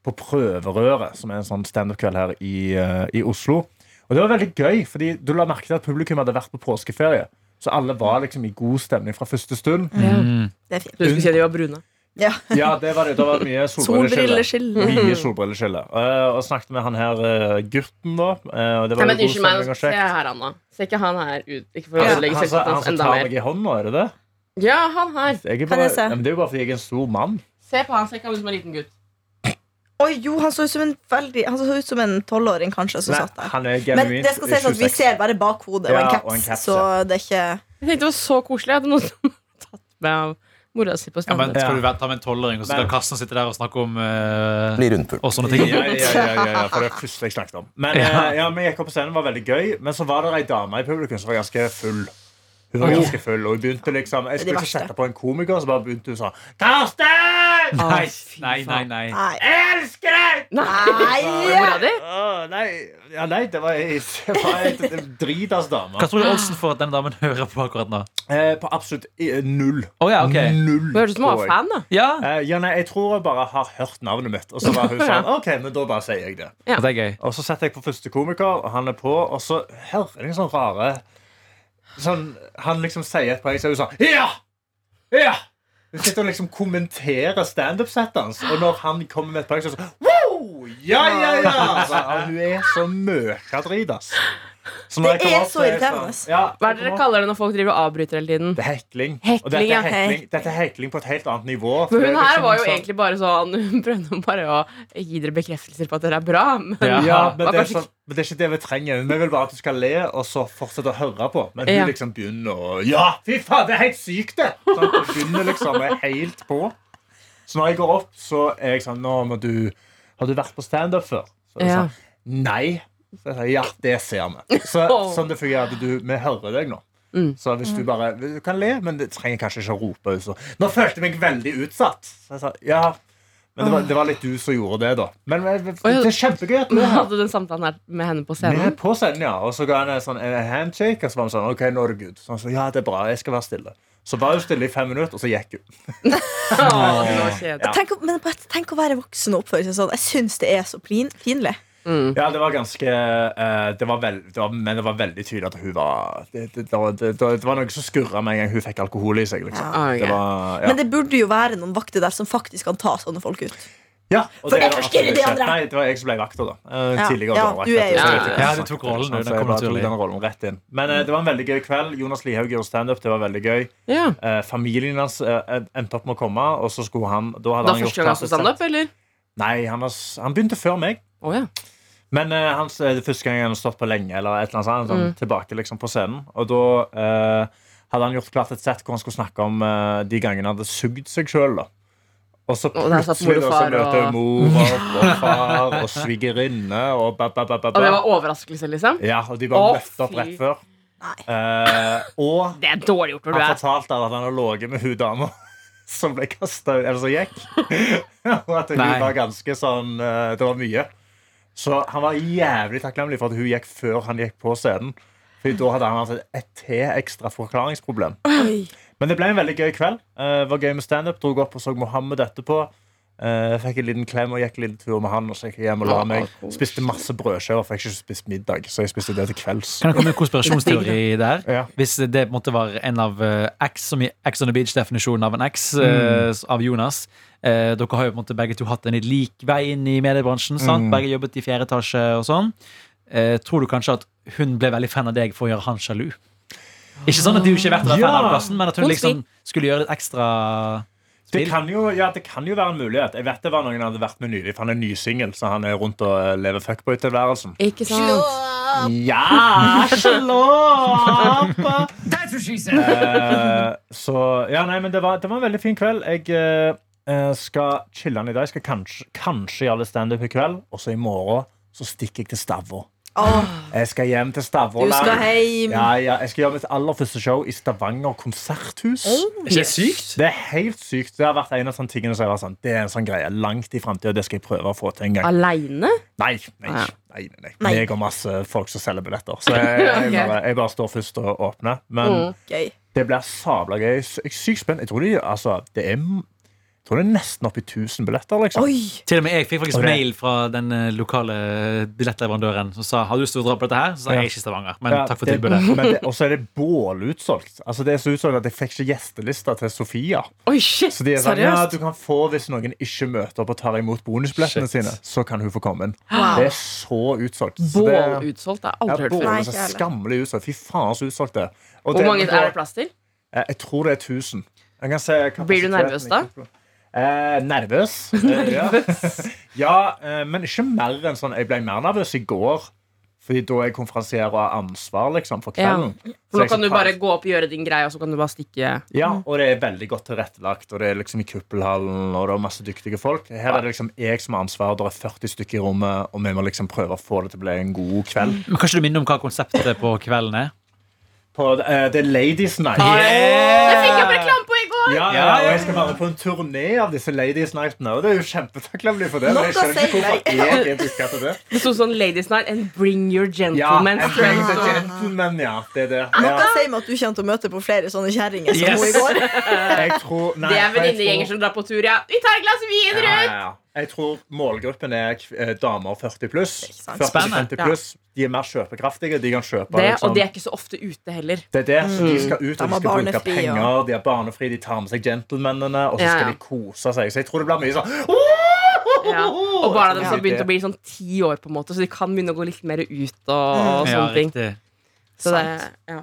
på Prøverøret, som er en sånn standup-kveld her i, eh, i Oslo. Og det var veldig gøy, fordi du la merke til at publikum hadde vært på påskeferie. Så alle var liksom i god stemning fra første stund.
Det er fint.
Du skulle si de var brune.
Ja.
Ja, det var det. Da var det mye solbrilleskille.
Solbrilleskille.
Mye solbrilleskille. Eh, og snakket med han her eh, gutten, da. eh, og det var
Nei,
jo
men
god
Unnskyld meg.
stemning
altså.
og
Se
kjekt.
her, Anna. Ser ikke han her ut? Ikke for å
Han,
ødelegge
han, som-
selvtilliten
han
hans
som
enda
tar
mer.
meg i hånda, er det det?
Ja, han her.
Jeg er
Kan
bare,
jeg se?
Ja, men det er jo bare fordi jeg er en stor mann.
Se på han. Ser ikke han ut som en liten gutt?
Oi, jo, han så ut som en veldig Han så ut som en tolvåring, kanskje, som
Nei,
satt der.
han er
Men
genuint
det skal sies at vi
26.
ser bare bakhodet
Ja,
og en
og en
caps,
caps,
så det er ikke
Jeg tenkte det var så koselig. Jeg hadde noen som tatt med av mora si på
Ja, men
standup.
Skal du ta med en tolvåring, og så skal
Men-
Karsten sitte der og snakke om eh,
Blir rundpult.
og sånne ting?
ja, ja, ja, ja, ja, for det er første jeg snakket om. Men, ja. ja, men jeg gikk opp på scenen, det var veldig gøy. Men så var det ei dame i publikum som var ganske full. Hun var ganske full, og hun begynte liksom Jeg
Det er de
skulle ikke
verste.
sette på en komiker, så bare begynte hun sånn Karsten!
Nei, nei, nei. nei.
Nei.
Jeg elsker deg!
Nei!
Mora di?
Åh, nei. Ja, nei, det var ei det var ei dritas altså, dame.
Hva tror du Olsen får at den damen hører på akkurat nå?
Eh, på absolutt i- null.
Å ja, ok.
Null.
Det høres ut som hun
tror
var
jeg.
fan, da.
Ja,
Eh, ja, nei, jeg tror jeg bare har hørt navnet mitt, og så var hun sånn OK, men da bare sier jeg det.
det er gøy.
Og så setter jeg på første komiker, og han er på, og så hører jeg sånn rare sånn, Han liksom sier et poeng, så er hun sånn Ja! Ja! Hun sitter og liksom kommenterer standup-settet hans, og når han kommer med et poeng, så er hun sånn Wow! Ja, ja, ja! Så, ja, hun er så møkadrit, ass. Så når
Det
jeg kommer
er
opp,
så
er jeg
irriterende.
sånn, Ja,
Hva er det dere kaller det når folk driver og avbryter hele tiden?
det er hekling.
Hekling,
og dette
ja.
er hekling, dette er hekling på et helt annet nivå.
For
Det
hun
er
her
liksom
var jo
sånn-
egentlig bare sånn Hun prøvde bare å gi dere bekreftelser på at dere er bra. Men
Ja.
Ja, men det,
Hva
er
kanskje-
sånn, men det er ikke det vi trenger. Vi vil bare at du skal le og så fortsette å høre på. Men hun
Ja.
liksom begynner å Ja, fy faen, det er helt sykt, det! Sånn, hun begynner liksom og er helt på. Så når jeg går opp, så er jeg sånn Nå må du Har du vært på standup før? Så er det
Ja.
sånn, Nei. Så jeg sier, ja, det ser vi. Så,
Åh.
sånn det fungerer at du, Vi hører deg nå.
Mm.
Så hvis du bare Du kan le, men du trenger kanskje ikke å rope. ut, Så. Nå følte jeg meg veldig utsatt. Så jeg sa ja. Men det var, det var litt du som gjorde det, da. Men men- det er kjempegøy at du er her.
hadde du den samtalen her med henne på
Vi er
scenen?
på scenen, ja. Og så ga han en sånn en handshake, og så var han sånn OK, nå er det good. Så han sa ja, det er bra, jeg skal være stille. Så var hun stille i fem minutter, og så gikk hun.
Åh, det var kjedelig.
Ja.
Tenk, å- men på et- tenk å være voksen og oppføre seg sånn. Jeg syns det er så pin, pinlig. Mm.
Ja, det var ganske eh, det var vel, det var, Men det var veldig tydelig at hun var Det, det, det, var- det, det var noe som skurra med en gang hun fikk alkohol i seg, liksom.
Ah, ok.
Det var, ja.
Men det burde jo være noen vakter der som faktisk kan ta sånne folk ut.
ja og
For det
var
forstyrrer
absolutt
de
ikke-
andre.
Nei, det var jeg som ble vakta, da. Eh,
Ja.
Tidligere
Ja,
dørvakt,
du er jo-
så jeg
Ja,
fikk
ja,
ikke
du
sagt
tok
det,
rollen,
liksom,
du. Den
så jeg
kom
bare tok
naturlig.
den rollen rett inn. Men eh, det var en veldig gøy kveld. Jonas Lihaug gjorde standup. Det var veldig gøy.
Ja.
Eh, familien hans eh, endte opp med å komme, og så skulle han Da hadde
Da
han gjort
første gang han sto
klassisk-
standup, eller?
Nei, han, var, s- han begynte før meg.
Å ja.
Men eh, han, s- det er første gang han har stått på lenge, eller et eller annet sånt,
Mm.
sånn, tilbake liksom på scenen. Og da eh, hadde han gjort klart et sett hvor han skulle snakke om eh, de gangene han hadde sugd seg sjøl. Og så
Og der satt
plutselig
mor
da,
og
så
far
møter
og-
hun mor og, og far og svigerinne og ba, ba, ba, ba,
Og det
ba.
var overraskelse, liksom?
Ja, og de bare
Å,
løfta opp
fy.
rett før.
Nei.
Eh, og
Det er dårlig gjort når du
han
er
fortalte at han hadde ligget med hun dama som ble kasta Eller som gikk. Og at hun
Nei.
var ganske sånn eh, Det var mye. Så han var jævlig takknemlig for at hun gikk før han gikk på scenen. Fordi da hadde han hatt et- et til ekstra forklaringsproblem. Men det ble en veldig gøy kveld. Eh, var gøy med standup. Dro opp og så Mohammed etterpå. Eh, fikk en liten klem og gikk en liten tur med han. Og så gikk jeg hjem og la meg Spiste masse brødskiver, fikk ikke spist middag, så jeg spiste det til kvelds.
Kan det komme en konspirasjonsteori der?
Ja.
Hvis det på en måte var en av eh, X, som i X on the Beach-definisjonen av en X,
Mm.
eh, av Jonas. Eh, dere har jo på en måte begge to hatt en litt lik vei inn i mediebransjen.
Mm.
sant? Begge jobbet i fjerde etasje og sånn. Eh, tror du kanskje at hun ble veldig fan av deg for å gjøre han sjalu? Ikke sånn at du ikke vet å være fan av
Ja.
plassen, men at hun
Hun
liksom skulle gjøre litt ekstra
Det
spill.
kan, jo, ja, det kan jo være en mulighet. Jeg vet det var noen han hadde vært med nylig, for han er nysingel, så han er rundt og eh, lever
Ah.
fuckboy-tilværelsen.
Ikke sant?
Ja, slå opp!
she said.
Eh, så Ja, nei, men det var, det var en veldig fin kveld. Jeg eh, eh, skal chille den i dag. Jeg skal kanskje, kanskje gjøre litt standup i kveld. Og så i morgen så stikker jeg til Stavå.
Åh,
Jeg skal hjem til Stavå.
du skal
land.
hjem.
Ah, Ja, ja, jeg skal gjøre mitt aller første show i Stavanger konserthus.
Er ikke det sykt?
Det er helt sykt. Det har vært en av sånne tingene som jeg var sånn, det er en sånn greie langt i fremtiden Det skal jeg prøve å få til en gang.
Aleine?
Nei, nei,
Ah, ja.
nei, nei, nei.
Nei.
Jeg og masse folk som selger billetter. Så jeg, jeg,
Ok. Mm.
bare, jeg bare står først og åpner. Men
Gøy.
det blir sabla gøy. Jeg er sykt spent. Jeg tror, de, altså, det er, jeg tror det er nesten oppi 1000 billetter. Liksom.
Oi!
Til og med jeg fikk faktisk
Og det-
mail fra den eh, lokale billettleverandøren som sa har du lyst til å dra på dette her. Så sa jeg, jeg er ikke i Stavanger, men
Ja,
takk for
det-
tilbudet.
men det- Og så er det bålutsolgt. Altså, det er så utsolgt at jeg fikk ikke gjestelista til Sofia.
Oi, shit!
Så de er sånn, ja,
Seriøst?
du kan få Hvis noen ikke møter opp og tar imot bonusbillettene
Shit.
sine, så kan hun få komme inn.
Wow.
Det er så utsolgt. Så det-
Bålutsolgt? Det har
Ja,
jeg aldri hørt
bål
før.
Nei,
er
ikke
så
heller.
skammelig utsolgt. Fy faen, så utsolgt det er. Og
Hvor mange
går-
er det plass til?
Eh, Jeg tror det er 1000. Jeg kan se kapasiteten
Blir du nervøs da?
Eh, nervøs. Eh, ja. ja, eh, men ikke mer enn sånn Jeg ble mer nervøs i går. Fordi da er jeg konferansierer og har ansvar liksom, for kvelden. Så
For nå
jeg
kan
skal
du bare
ta-
gå opp og gjøre din greie, og så kan du bare stikke
Ja, og det er veldig godt tilrettelagt. Og det er liksom i kuppelhallen, og det er masse dyktige folk. Her er det liksom jeg som har ansvaret, det er 40 stykker i rommet, og vi må liksom prøve å få det til å bli en god kveld.
Men Kan ikke du minne om hva konseptet på kvelden er?
På, eh, det er Ladies Night.
Jeg fikk opp reklame på i går!
Ja,
Ja,
ja, og
ja.
jeg skal være på en turné av disse Ladies Nightene. Og det er jo kjempetakknemlig for det. Men jeg
Nok å
skjønner ikke
si,
hvorfor
nei.
jeg er dukka til det.
Det sto sånn Ladies Night and Bring Your
Ja,
Gentleman.
jeg trenger the gentleman, ja. Det er det.
Noe
Ja,
sier meg at du kommer til å møte på flere sånne kjerringer som
Yes.
hun i går.
jeg tror, nei,
Det er
for jeg
venninnegjenger
tror-
som drar på tur, ja. Vi tar et glass
Ja,
vin, Ruth!
ja, ja. Jeg tror målgruppen er kv- eh, damer 40 pluss.
Ikke sant.
40-50
Spennende.
pluss. De er mer kjøpekraftige. De kan kjøpe
Det,
liksom-
og de er Mm. ikke så ofte ute heller.
Det er det, så De skal ut og
De
de skal
har
bruke
barnefri,
penger,
og-
de er barnefri, de tar med seg gentlemanene, og så
Ja,
skal
ja.
de kose seg. Så jeg tror det blir mye sånn
Ja. Og barna deres
Ja.
har begynt å bli sånn ti år, på en måte så de kan begynne å gå litt mer ut og, og
Ja,
sånne ting.
riktig.
Så det, ja.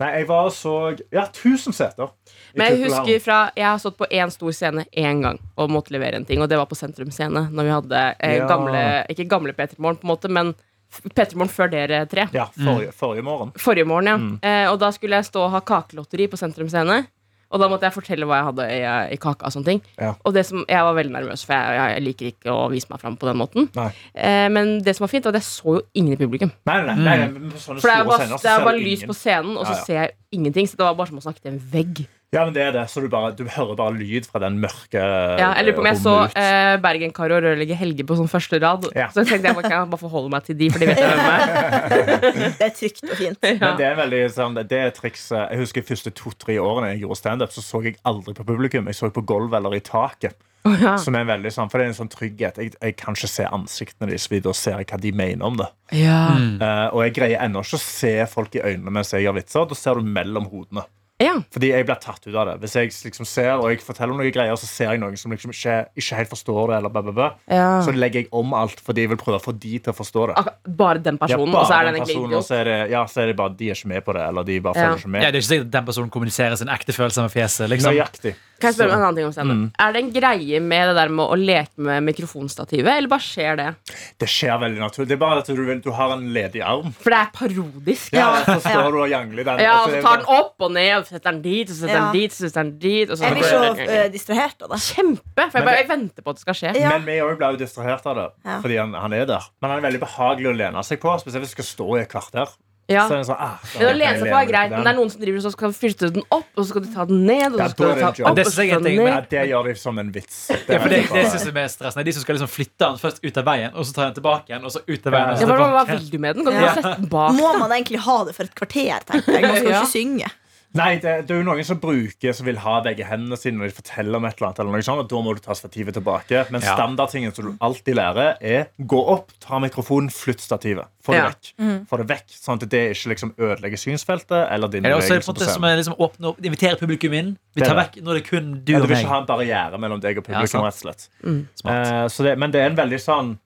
Nei, jeg var og så Ja, 1000 seter. i
Men jeg
Kuppelhallen.
husker fra Jeg har stått på én stor scene én gang og måtte levere en ting, og det var på Sentrum Scene. Når vi hadde eh,
Ja.
gamle Ikke gamle P3 Morgen, på en måte, men f- P3 Morgen før dere tre.
Ja, forrige, forrige morgen.
Forrige morgen, ja.
Mm.
Eh, og da skulle jeg stå og ha kakelotteri på Sentrum Scene. Og da måtte jeg fortelle hva jeg hadde i, i kaka. Og sånne ting
Ja.
Og det som, jeg var veldig nervøs, for jeg, jeg liker ikke å vise meg fram på den måten.
Nei.
Eh, men det som var fint, var at jeg så jo ingen i publikum.
Nei, nei, nei, nei, men på sånne
For det er
store
bare,
scener så
det er
ser
bare
du
lys
ingen.
på scenen, og så
Ja, ja.
ser jeg ingenting. Så det var bare som å snakke til en vegg.
Ja, men det er det. Så du, bare, du hører bare lyd fra den mørke
Ja, jeg lurer på om jeg så
rommet ut.
eh, Bergen-Karo og Rørlegger Helge på sånn første rad.
Ja.
Så jeg tenkte jeg bare kan jeg bare forholde meg til de, for de vet jeg hvem jeg er.
Det er trygt og fint.
Men det er veldig sånn, det er trikset Jeg husker de første to-tre årene jeg gjorde standup, så så jeg aldri på publikum. Jeg så på gulvet eller i taket.
ja.
Som er veldig sånn, For det er en sånn trygghet. Jeg, jeg kan ikke se ansiktene deres, fordi da ser jeg hva de mener om det.
Ja.
Eh, og jeg greier ennå ikke å se folk i øynene mens jeg gjør vitser. Da ser du mellom hodene.
ja.
Fordi jeg blir tatt ut av det. Hvis jeg liksom ser og jeg forteller om noen greier, så ser jeg noen som liksom ikke, ikke helt forstår det, eller bæ, bæ, bæ.
Ja.
så legger jeg om alt fordi jeg vil prøve å få de til å forstå det.
Ak- Bare den
Ja,
personen,
bare
og så er den
den
egentlig
personen, og
idiot.
så er det, ja, så er det bare de er ikke med på det, eller de bare
Ja.
følger ikke
Ja,
med.
det er ikke sikkert at den personen kommuniserer sin ekte følelse med fjeset. Liksom.
Nøyaktig.
Kan jeg spørre om
Så-
en annen ting om scenen? Er det en greie med det der med å leke med mikrofonstativet, eller bare skjer det?
Det skjer veldig naturlig. Det er bare at du, vil- du har en ledig arm.
For det er parodisk.
Ja, så står du og jangler den.
Ja,
og
og
så er
så
det
tar den
bare-
opp og ned, og så setter den dit, og så setter
Ja.
den dit, og så setter den dit. Og så
Jeg blir så eh, distrahert av det.
Kjempe! For jeg, bare, jeg venter på at det skal skje.
Ja.
Men vi òg ble jo distrahert av det,
Ja.
fordi han, han er der. Men han er veldig behagelig å lene seg på, spesielt hvis du skal stå i et kvarter.
Ja.
Så er det sånn, ah, da
Men å
kan jeg
lene seg på
lene
er
meg
greit, men det er noen som driver og så skal fyrte den opp, og så skal de ta den ned, og
Ja,
så skal
da er
de
det en
ta den
joke.
opp,
Det synes jeg
og så
er
skal
en
den
ting,
Ja,
ned.
det gjør de som en vits. Det
Ja, for det,
veldig
det
bra.
synes jeg er mest stressende. De som skal liksom flytte den først ut av veien, og så tar den tilbake igjen. Og så ut av veien og
Ja,
så
hva, hva, hva
tilbake
vil
igjen.
du med den? Kan du
Ja.
bare sette den bak?
Må man egentlig ha det for et kvarter, tenkte jeg. Man skal jo
Ja.
ikke synge.
Nei, det, det er jo noen som bruker Som vil ha begge hendene sine når de forteller om et eller annet. Eller noe sånt, og da må du ta stativet tilbake. Men
Ja.
standardtingen som du alltid lærer, er gå opp, ta mikrofonen, flytt stativet. Få det
Ja.
vekk.
Mm.
Få det vekk Sånn at det ikke liksom ødelegger synsfeltet eller din
Er det også en
bevegelse på
måte som
scenen.
er liksom åpne opp, invitere publikum inn? Vi
Det
tar
er
vekk når det er kun du
Ja,
og
du vil
meg.
ikke ha en barriere mellom deg og
Ja,
publikum.
sant. Mm.
rett og slett
Smart. Mm.
Eh, så det, Men det er en veldig sånn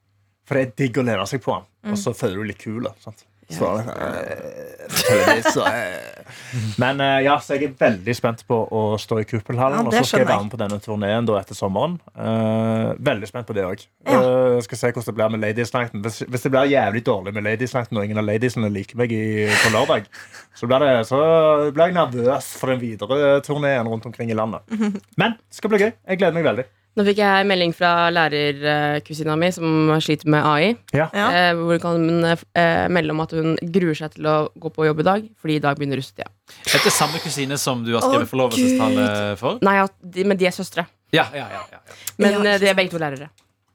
For det er digg å lene seg på den, og så føler du deg litt kul. sant? Så var det eh, selvfølgelig så, eh. Men eh, ja, så jeg er veldig spent på å stå i kuppelhallen.
Ja, det
og så skal jeg
skjønner
være med på denne turneen da etter sommeren. Eh, veldig spent på det òg.
Ja.
skal se hvordan det blir med Ladies Nighten. Hvis, hvis det blir jævlig dårlig med Ladies Nighten, og ingen av ladiesene liker meg i, på lørdag, så blir, det, så blir jeg nervøs for den videre turneen rundt omkring i landet. Men det skal bli gøy. Jeg gleder meg veldig.
Nå fikk jeg melding fra lærerkusina mi, som sliter med AI.
Ja.
Ja.
Eh, hvor kan hun eh, melde om at hun gruer seg til å gå på jobb i dag, fordi i dag begynner russetida.
Dette er samme kusine som du har
Å,
skrevet forlovelsestale for?
Nei, at de, men de er søstre.
Ja, ja, ja, ja. ja.
Men
Ja,
eh,
ikke
de er begge to lærere.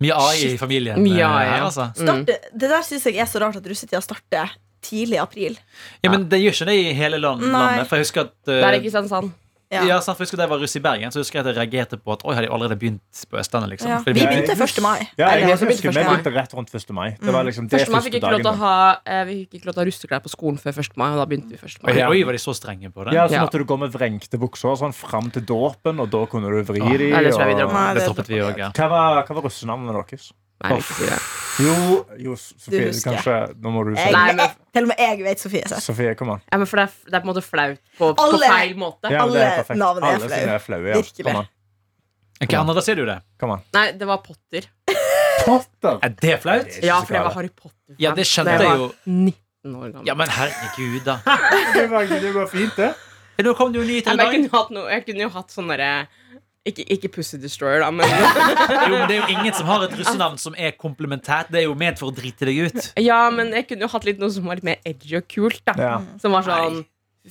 Mye AI i familien.
Mye
eh,
AI,
her,
ja.
altså.
Starte, det der syns jeg er så rart at russetida starter tidlig i april.
ja, Men det gjør ikke det i hele land,
Nei.
landet. For jeg husker at eh,
Det er i Kristiansand.
Ja.
Ja, sant, for jeg husker Da jeg var russ i Bergen, så husker jeg at jeg reagerte på at Oi, har de allerede begynt på Østlandet. liksom
Ja.
Fordi
Vi
vi-
begynte Mm. 1. mai.
Ja, jeg
Eller,
også
jeg
husker
begynte
Vi
1.
begynte rett rundt 1. mai. Det var liksom det
Første mai fikk
første
ikke lov til å
dagen.
ha eh, Vi fikk ikke lov til å ha russeklær på skolen før 1. mai, og da begynte vi 1. mai.
Oi, oi, var de så strenge på det?
Ja, så
Ja.
måtte du gå med vrengte bukser og sånn fram til dåpen, og da kunne du vri
Åh,
de.
nei, det tror jeg vi
og-
dropper.
Nei,
det
det-
droppet vi òg, ja.
Hva var, hva var russenavnet deres?
Nei, vi fikk ikke det.
Jo, jo Sofie,
Du husker.
kanskje Nå må du si
Jeg,
det.
Nei, men-
Til og med jeg vet Sofie. Så.
Sofie, kom an.
Ja, men for det er, f- det er på en måte flaut på, på
Alle!
feil måte.
Ja, men det
Alle
perfekt.
navn er
Alle
flau.
sine er flaue. Ja.
Virkelig.
Kom an.
Ok, Anna, da sier du det.
Kom an.
Nei, det var Potter.
Potter!
Er det flaut?
Det er ikke
Ja,
så
for jeg var
galt.
Harry Potter.
Ja, det skjønte
Da
jeg
var
jo.
19 år gammel.
Ja, men herregud, da.
Det var, det var fint, det.
Ja, Nå kom det jo ny til
Nei,
i
men jeg,
dag.
kunne jo hatt noe, jeg kunne jo hatt sånn derre ikke, ikke Pussy Destroyer, da, men
Jo, men det er jo ingen som har et russenavn som er komplementært. Det er jo ment for å drite deg ut.
Ja, men jeg kunne jo hatt litt noe som var litt mer edgy og kult, da.
Ja.
Som var sånn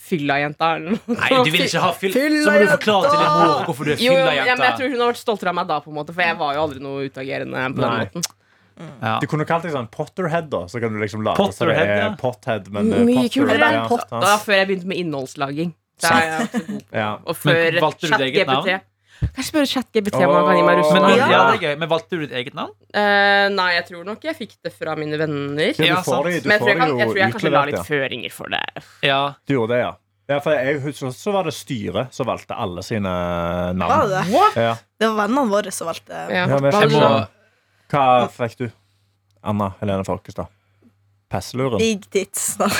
Fylla-jenta eller noe.
Nei, du vil ikke ha fyll Så må du
Fyllajenta!
forklare til din mor hvorfor du er
Jo, jo, ja, men jeg
fyllajente.
tror hun har vært stoltere av meg da, på en måte for jeg var jo aldri noe utagerende. på den
Nei.
måten
Ja.
Du kunne kalt deg sånn Potterhead, da. Så kan du liksom lage
Potterhead,
så det er
ja.
Pothead, men eh,
Mye kulere enn
Potter. sånn.
Det var
Ja,
før jeg begynte med innholdslaging. Da er jeg også god.
ja.
Og før
Men valgte du ditt eget
ChatGPT.
navn?
Kanskje spørre ChatGPT om han kan gi meg
Men,
russenavn.
Ja.
ja, det er gøy. men valgte du ditt eget navn?
Eh, nei, jeg tror nok jeg fikk det fra mine venner. altså,
Ja,
Ja,
du får
sant.
det, du
Men jeg tror
får
jeg, kan, jeg,
det
tror
jo
jeg kanskje la
utlevert,
litt
ja.
føringer for det.
Ja.
Du gjorde det, ja. ja for jeg husker så var det styret som valgte alle sine
Var
navn.
det det?
Ja.
det var vennene våre som valgte
Ja.
Ja, men
Hva
Jeg
hadde
må,
du da?
Hva fikk du? Anna Helene Folkestad. Passeluren.
Big Tits. det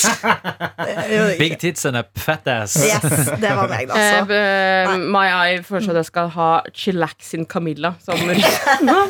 gjorde jeg
big
ikke.
tits and a fat ass.
Yes, det var meg, da.
Eh,
Altså.
eh, my Eye foreslår at jeg skal ha Chillaxin Camilla. Som det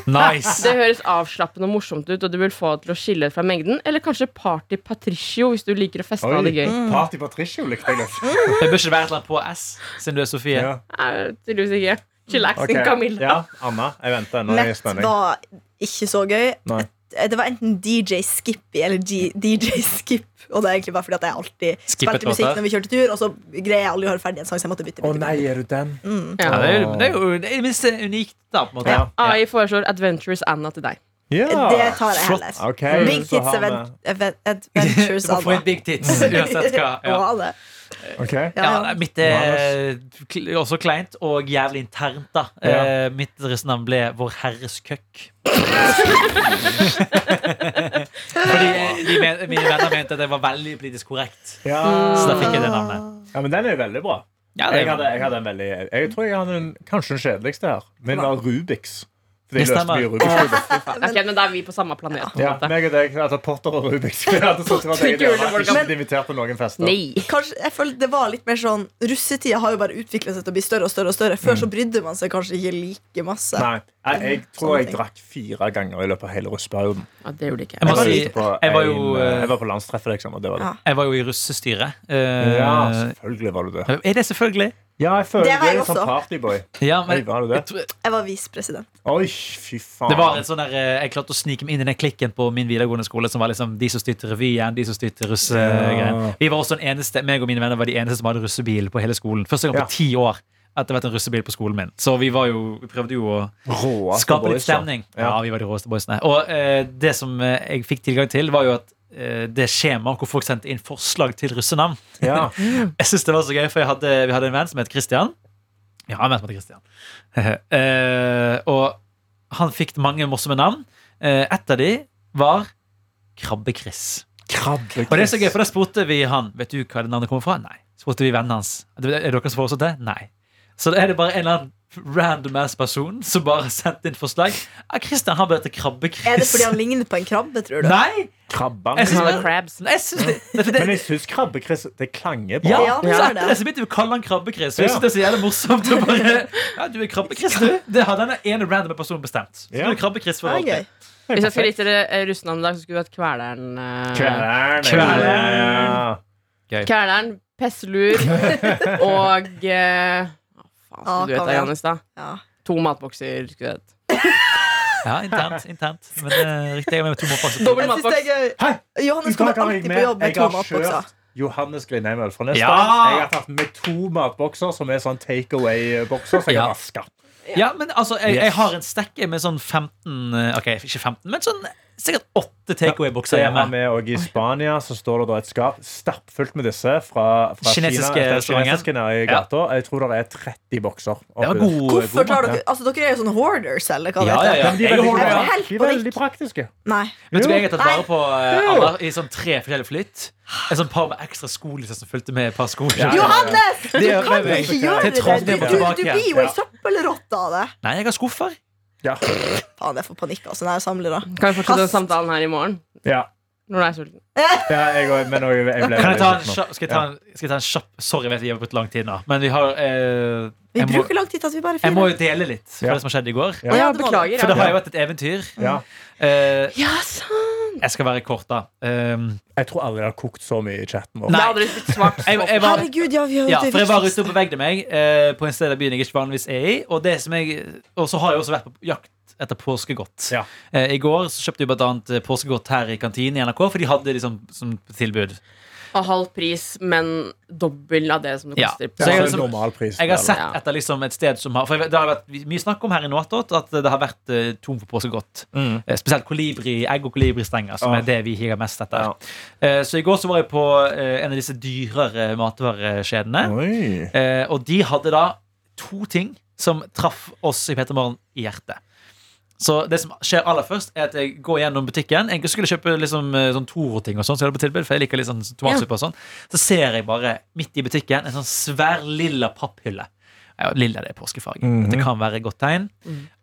Nice.
høres avslappende og morsomt ut, og du vil få det til å skille deg fra mengden. Eller kanskje Party Patricio, hvis du liker å feste og ha det gøy.
Party Patricio likte jeg godt.
Det bør ikke være et eller annet på S, siden du er Sofie.
Ja.
Nei, Tydeligvis ikke. Chillaxin
ok.
Camilla.
Ja, Anna, jeg venter ennå i
Nett
spenning.
var ikke så gøy. eh,
Nei.
Det var enten DJ Skippy eller G DJ Skip. Og det er egentlig bare fordi at jeg alltid
Skippet
spilte musikk
låter.
når vi kjørte tur, og så greier jeg aldri å høre ferdig en sang, så jeg måtte bytte. bytte, bytte.
er du den?
Ja, det er jo det er jo- det er i det minste unikt, da. på en måte
Ja.
AI Ah, foreslår Adventurous Anna til deg.
Det
Ja!
tar jeg
Flott.
heller.
Ok,
Big
så
Tits
har vi-
event, event,
Du
Adventures.
må få
Anna.
en big tits uansett hva. Ja.
Å, det.
eh, ok.
Ja, ja.
Ja, mitt er kl- også kleint og jævlig internt, da.
Ja.
Eh, mitt dressnavn ble Vår Herres køkk. Fordi de men, mine venner mente at jeg var veldig politisk korrekt.
Ja.
Så da fikk jeg det navnet.
ja, men den er jo veldig bra.
Mm. Ja, det
Jeg,
er
hadde,
bra.
jeg hadde en veldig Jeg tror jeg hadde en, kanskje den kjedeligste her. Min var Rubiks. For de
Det
løste
stemmer.
mye Rubiks.
Ok, men da er vi på samme planet. på en
Ja,
måte.
meg og deg altså Potter og Rubiks. Vi hadde sånn til at jeg
Kule
hadde
folk.
ikke blitt invitert på noen fester.
Nei.
Kanskje, jeg føler det var litt mer sånn Russetida har jo bare utvikla seg til å bli større og større. Før så brydde man seg kanskje ikke like masse.
Nei, jeg, jeg tror jeg
Sånne ting.
drakk fire ganger i løpet av hele russeperioden.
Ja, Ah, det gjorde ikke
Jeg
jeg.
må
var
si,
ute på
jeg var
en,
jo,
eh,
eh,
jeg var på landstreffet, liksom, og det var det.
Ja.
Jeg var jo i russestyret. Eh,
Ja, selvfølgelig var du det.
er det selvfølgelig?
Ja, jeg føler
Det var
jeg
jeg
er sånn
også.
partyboy.
Ja,
Oi,
men
var du det?
jeg tror-
Jeg var visepresident.
Oi, fy faen.
Det var en sånn der, eh, Jeg klarte å snike meg inn i den klikken på min videregående skole som var liksom de som styrte revyen, de som styrte russegreier.
Ja.
Vi var også den eneste, meg og mine venner var de eneste som hadde russebil på hele skolen. Første gang
Ja.
på ti år at det har vært en russebil på skolen min. Så vi var jo, vi prøvde jo å
Råeste
skape litt
boys, da.
stemning. Ja,
Ja.
vi var de råeste boysene. Og eh, det som eh, jeg fikk tilgang til, var jo at eh, det skjemaet hvor folk sendte inn forslag til russenavn
Ja.
jeg synes det var så gøy, for jeg hadde, vi hadde en venn som het Christian. Ja, en venn som het Christian. Eh, og han fikk mange morsomme navn. Eh, et av de var Krabbe-Chris.
Krabbe.
Og det er så gøy, for da spurte vi han Vet du hva det navnet kommer fra. Nei. Spurte vi vennen hans. Er det dere som foreslått det? Nei. Så er det bare en eller annen random ass person som bare har sendt inn forslag. Ja, Christian han bør hete Krabbe-Chris.
Er det fordi han ligner på en krabbe, tror du?
Nei!
Krabban.
Jeg synes
Krabbe
det,
crabs.
Nei, jeg synes det, det, det,
Men jeg syns krabbekriss Det klanger bra.
ja,
Ja, det
så
er
etter det så begynte vi å kalle han Krabbe-Chris. Så jeg
Ja.
synes det er så jævlig morsomt å bare Ja, du er Krabbe-Chris, du. Det har denne ene random personen bestemt. Så
Ja.
du er Krabbe-Chris for
Det er gøy.
alltid.
Hvis jeg skulle gitt dere eh, russenavn i dag, så skulle det vært Kveleren. eh,
Kveleren.
Kveleren.
Ja.
Kveleren, Pesselur og eh, Hva faen skulle du
Ah, kom
hete,
igjen.
Johannes? da?
Ja.
To matbokser. skulle du hete.
Ja, internt. internt Men det er riktig. Jeg er med to mål faktisk.
Dobbel
Jeg synes det er
Hei!
gøy. Johannes kommer alltid på jobb med to matbokser.
Johannes Grindheimøl fra Nesbø.
Ja!
Jeg har tatt med to matbokser som er sånn take away-bokser. Som jeg
Ja.
har vasket.
Ja, men altså, jeg,
Yes.
jeg har en stekk med sånn 15 eh, Ok, ikke 15, men sånn sikkert åtte takeaway-bokser
Det har
hjemme.
vi også i Spania. Så står det da et skap stappfullt med disse fra, fra
Kinesiske
Kina. Det er
restauranten.
kinesiske nede i gata. Jeg tror det er 30 bokser. oppi
Det var
der.
god,
Hvorfor
god
tar
mat.
dere Altså, dere er jo sånne hoarders, eller hva
Ja, ja, ja.
det
De
heter.
Jeg
er veldig,
holder
gode.
meg helt
de er
på
veldig praktiske.
Nei.
Vet du hva jeg har tatt
Nei.
vare på eh,
Jo.
alle, i sånn tre forskjellige flytt? Et sånn par med ekstra skolisser som fulgte med et par sko.
Ja, ja, ja.
Johannes! Du
Det gjør
kan
jeg
ikke
ikke.
gjøre
Til
det!
tross
Du,
for
du,
tilbake
du
igjen.
blir
Ja.
jo en søppelrotte av det.
Nei, jeg har skuffer.
Ja.
Faen, jeg får panikk altså, når jeg samler det.
Kan vi fortsette
Fast.
samtalen her i morgen?
Ja.
Når du er sulten.
ja jeg, også, men også, jeg ble
Kan jeg ta en
veldig
kjapp, skal, jeg ta en, skal jeg ta en kjapp Sorry, jeg vet jeg har brukt lang tid nå, men vi har eh,
Vi
jeg, må,
bruker lang tid til at vi bare
jeg må
fyrer.
jo dele litt fra
Ja.
det som har skjedd i
Ja.
går.
Ja,
Ja, det må
beklager.
For det
Ja.
har jo vært et eventyr.
ja.
Eh,
Ja, sant.
jeg skal være kort, da. Um,
Jeg tror aldri det har kokt så mye i chatten vår.
Det
Nei.
har aldri blitt svart
jeg, jeg var,
Herregud, ja, vi har jo
Ja,
det
for jeg var ute
viktigste.
og bevegde meg eh, på en sted i byen jeg ikke vanligvis er i. Og, det som jeg, og så har jeg også vært på jakt etter påskegodt.
Ja.
Eh, I går så kjøpte vi blant annet eh, påskegodt her i kantinen i NRK, for de hadde liksom som tilbud.
av halv pris, men dobbel av det som det
Ja.
koster.
Så jeg har
Altså,
liksom-
normalprisen,
Jeg har
eller?
sett
Ja.
etter liksom et sted som har For jeg, vet- det har vært mye snakk om her i Nåtot at det har vært eh, tom for påskegodt.
Mm.
Eh, Spesielt kolibri, egg- og kolibristenger, som
Ja.
er det vi higer mest etter.
Ja.
Eh, Så i går så var jeg på eh, en av disse dyrere matvarekjedene.
Oi.
Eh, og de hadde da to ting som traff oss i Peter Morgen i hjertet. Så det som skjer aller først, er at jeg går gjennom butikken. Egentlig skulle jeg kjøpe liksom, eh, sånn Toro-ting og sånn, så jeg hadde på tilbud, for jeg liker litt sånn tomatsuppe og sånn. Så ser jeg bare midt i butikken en sånn svær lilla papphylle. Ja, lilla det er påskefarge.
Mhm. Mm.
Det kan være et godt tegn.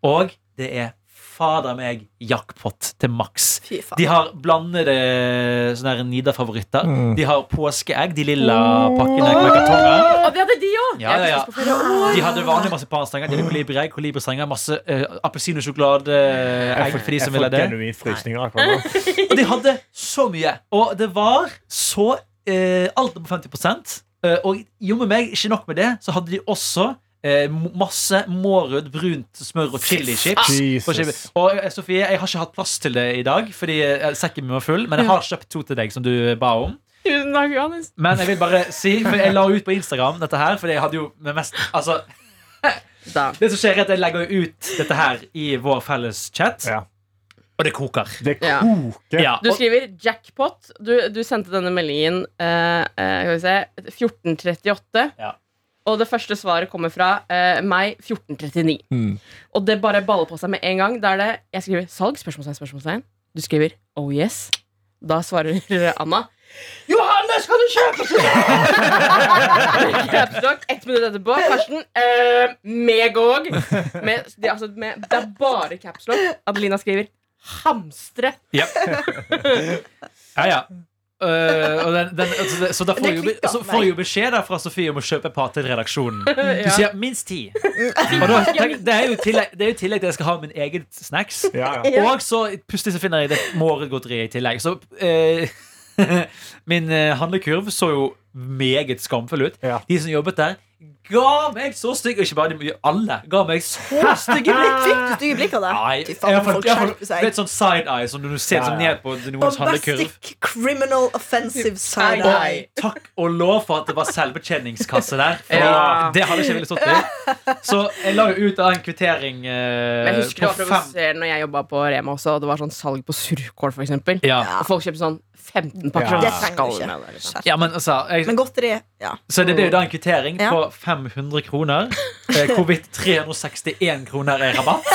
Og det er fader meg jackpot til maks.
Fy faen.
De har blandede sånne her Nida-favoritter.
Mm.
De har påskeegg, de lilla pakkene med kartonger.
Og det hadde de òg!
Ja, ja, ja. De hadde vanlig marsipanstenger, de hadde kolibriegg, kolibristenger, masse eh, appelsin og sjokoladeegg
Jeg
for de
får, jeg
som ville
får
det.
genuint frysninger akkurat nå.
Og de hadde så mye. Og det var så eh, Alt på 50 eh, Og jommen meg, ikke nok med det, så hadde de også eh, m- masse Mårud brunt smør og
Ah.
chilichips. På skive.
Jesus.
Og eh, Sofie, jeg har ikke hatt plass til det i dag, fordi eh, sekken min var full. Men jeg har kjøpt to til deg, som du ba om.
Tusen takk, Johannes.
Men jeg vil bare si, for jeg la ut på Instagram dette her, fordi jeg hadde jo med mest Altså
Da.
Det som skjer er at Jeg legger jo ut dette her i vår felles chat,
Ja.
og det koker.
Det
Ja.
koker.
Ja,
Du
og,
skriver jackpot. Du, du sendte denne meldingen eh, eh, skal vi se, 1438.
Ja.
Og det første svaret kommer fra eh, meg 1439.
Mm.
Og det bare baller på seg med en gang. Da er det jeg skriver salg? spørsmålstegn, spørsmålstegn. Du skriver oh yes. Da svarer Anna Johannes, kan du kjøpe Capstock. Ett minutt etterpå. Karsten. Eh, Megog. Med, de, altså, med, det er bare capslock. Adelina skriver hamstre.
ja, ja. Øh, og den, den, altså, det- så da får
Det
jeg jo, be-
klikker
så
for
får
meg.
jeg jo beskjed da fra Sofie om å kjøpe et par til redaksjonen. Du
Ja.
sier minst ti.
Mm.
Og da, tenk- det er jo i tillegg, det er jo i tillegg til at jeg skal ha min egen snacks.
Ja, ja.
Og så plutselig så finner jeg det morgengodteriet i tillegg. Så eh, min eh, handlekurv så jo meget skamfull ut.
Ja.
De som jobbet der, ga meg så stygge Ikke bare de, alle. Ga meg så stygge blikk.
Fikk du stygge blikk av det?
Nei,
Fy
i
faen,
hvert fall-
folk
i hvert fall-
skjerper seg.
Vet sånn side-eye som du ser
Ja,
sånn
ja.
ned på noens handlekurv.
Bombastic criminal offensive side
Og- Nei.
eye.
Og takk og lov for at det var selvbetjeningskasse der. For
Ja.
Det hadde ikke jeg villet stått til. Så jeg la jo ut av en kvittering eh,
Men jeg husker det
på
var
fem
provoserende når jeg jobba på Rema også, og det var sånn salg på surkål, for eksempel.
ja.
Og folk kjøpte sånn 15 pakker.
Ja.
sånn
Det trenger
skall
du
med det, liksom.
ikke.
ja, men altså jeg,
Men godteri ja.
Så det ble jo da en kvittering
Ja.
på 500 kroner. eh, Hvorvidt 361 kroner er rabatt.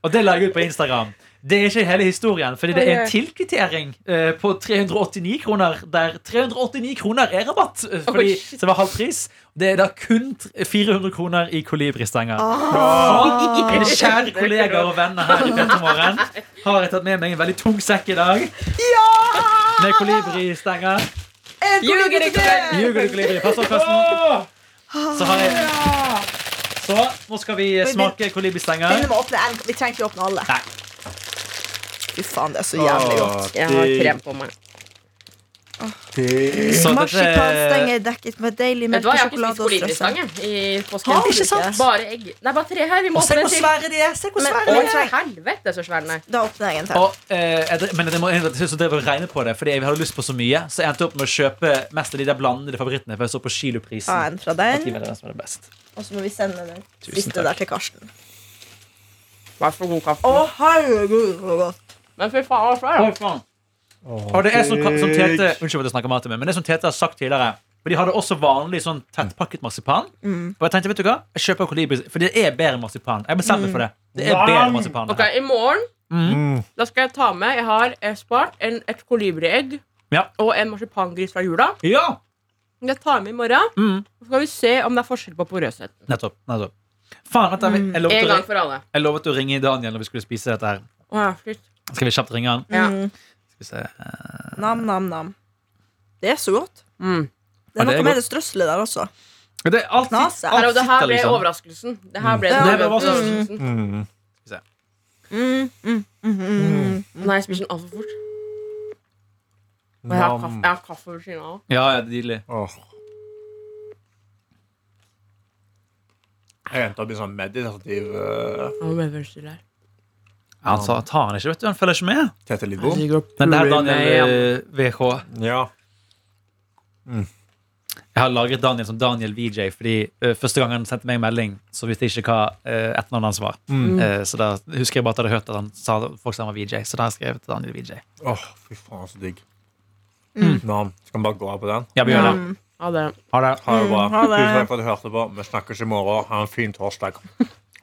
og det la jeg ut på Instagram. Det er ikke hele historien, fordi det er en
Oi, oi.
tilkvittering eh, på 389 kroner, der 389 kroner er rabatt, eh, fordi
Oi.
så det var halv pris. Det er da kun t- 400 kroner i kolibristanger.
Ah.
Mine kjære kollegaer og venner her i Petremorgen har jeg tatt med meg en veldig tung sekk i dag. Med kolibristenger.
Jeg kommer
Ljuger
til
ikke.
det.
Ljuger du, kolibri? Pass opp, Karsten. Så har jeg Så, nå skal vi smake
Begynner
kolibristenger.
med å åpne en. Vi trenger ikke åpne alle.
Nei.
Fy faen, det er så jævlig
Ah,
godt.
Jeg har krem på meg.
Så dette
Marsipanstenger dekket med deilig
Vet du hva, Jeg har ikke
melkesjokolade
spist
og strøssel.
kolibristange i påsken.
Har du ikke?
Bare egg. Nei, bare tre her. Vi må
Og se
åpne
hvor
en til.
svære de er! Se hvor
Men
svære de
å,
er!
helvete, så svær den er.
Da åpner jeg en til.
Og, eh, jeg, drev- men jeg må innrømme at jeg synes jeg drev og regne på det, fordi jeg hadde lyst på så mye. Så jeg endte opp med å kjøpe mest av de der blandede favorittene. For jeg så på kiloprisen.
Ah,
Ta en fra
At de
den,
var den som var det best.
og så må vi sende den
Tusen
siste
takk.
der til Karsten.
Vær så god,
Å,
kaffe.
herregud, så godt.
Men fy faen, hva svær
Oi, faen. Og det er som, som Tete Unnskyld at jeg snakker mat med, men det er som Tete har sagt tidligere. For de hadde også vanlig sånn tettpakket marsipan.
Mm.
Og jeg tenkte, vet du hva, jeg kjøper kolibris, for det er bedre marsipan. Jeg bestemmer meg for det. Det er bedre marsipan.
Ok, I morgen Da skal jeg ta med Jeg har eh, spart en, et kolibriegg
Ja.
og en marsipangris fra jula.
Ja!
Jeg tar med i morgen.
Mm.
Så skal vi se om det er forskjell på porøsheten.
Nettopp. nettopp. Faen, vent, jeg, jeg,
Mm. En gang
lovet å,
for alle.
jeg lovet å ringe Daniel når vi skulle spise dette her.
Å, ja, shit.
Skal vi kjapt ringe han?
Ja.
Mm.
Skal vi se.
Nam, nam, nam. Det er så godt.
Mm.
Det
Ja,
er
det er
noe med det strøsselet der også.
Det er alltid
Knaset.
Her, og det her
sitter
ble
liksom.
overraskelsen. Mm. Det her ble
Ja.
den
Det ble
nødvendige
overraskelsen.
overraskelsen.
Mm.
Mm, mm, mm, mm.
Nei, jeg spiser den altfor fort. Og jeg har kaffe,
Nam.
jeg har kaffe ved siden av.
Ja, ja, nydelig.
Åh. Jeg endte opp i sånn meditativ uh,
Jeg må medfølelse der.
Han sa tar han ikke, vet du. Han følger ikke med.
Tete Lidbom.
Jeg ligger og
Men det her er
puler meg
Daniel
igjen.
eh, VH.
Ja.
Jeg har lagret Daniel som Daniel VJ, fordi eh, første gang han sendte meg en melding, så visste jeg ikke hva uh, etternavnet hans var. Eh, så da husker jeg bare at jeg hadde hørt at han sa folk sa han var VJ, så da skrev jeg til Daniel VJ.
Åh, fy faen, så digg.
Mm.
Nam. Skal vi bare gå av på den?
Ja, vi gjør det.
Ja, det.
Ha
Ha
det.
det bra.
Mm.
ha det.
Tusen takk for at du hørte på. Vi snakkes i morgen. Ha en fin torsdag.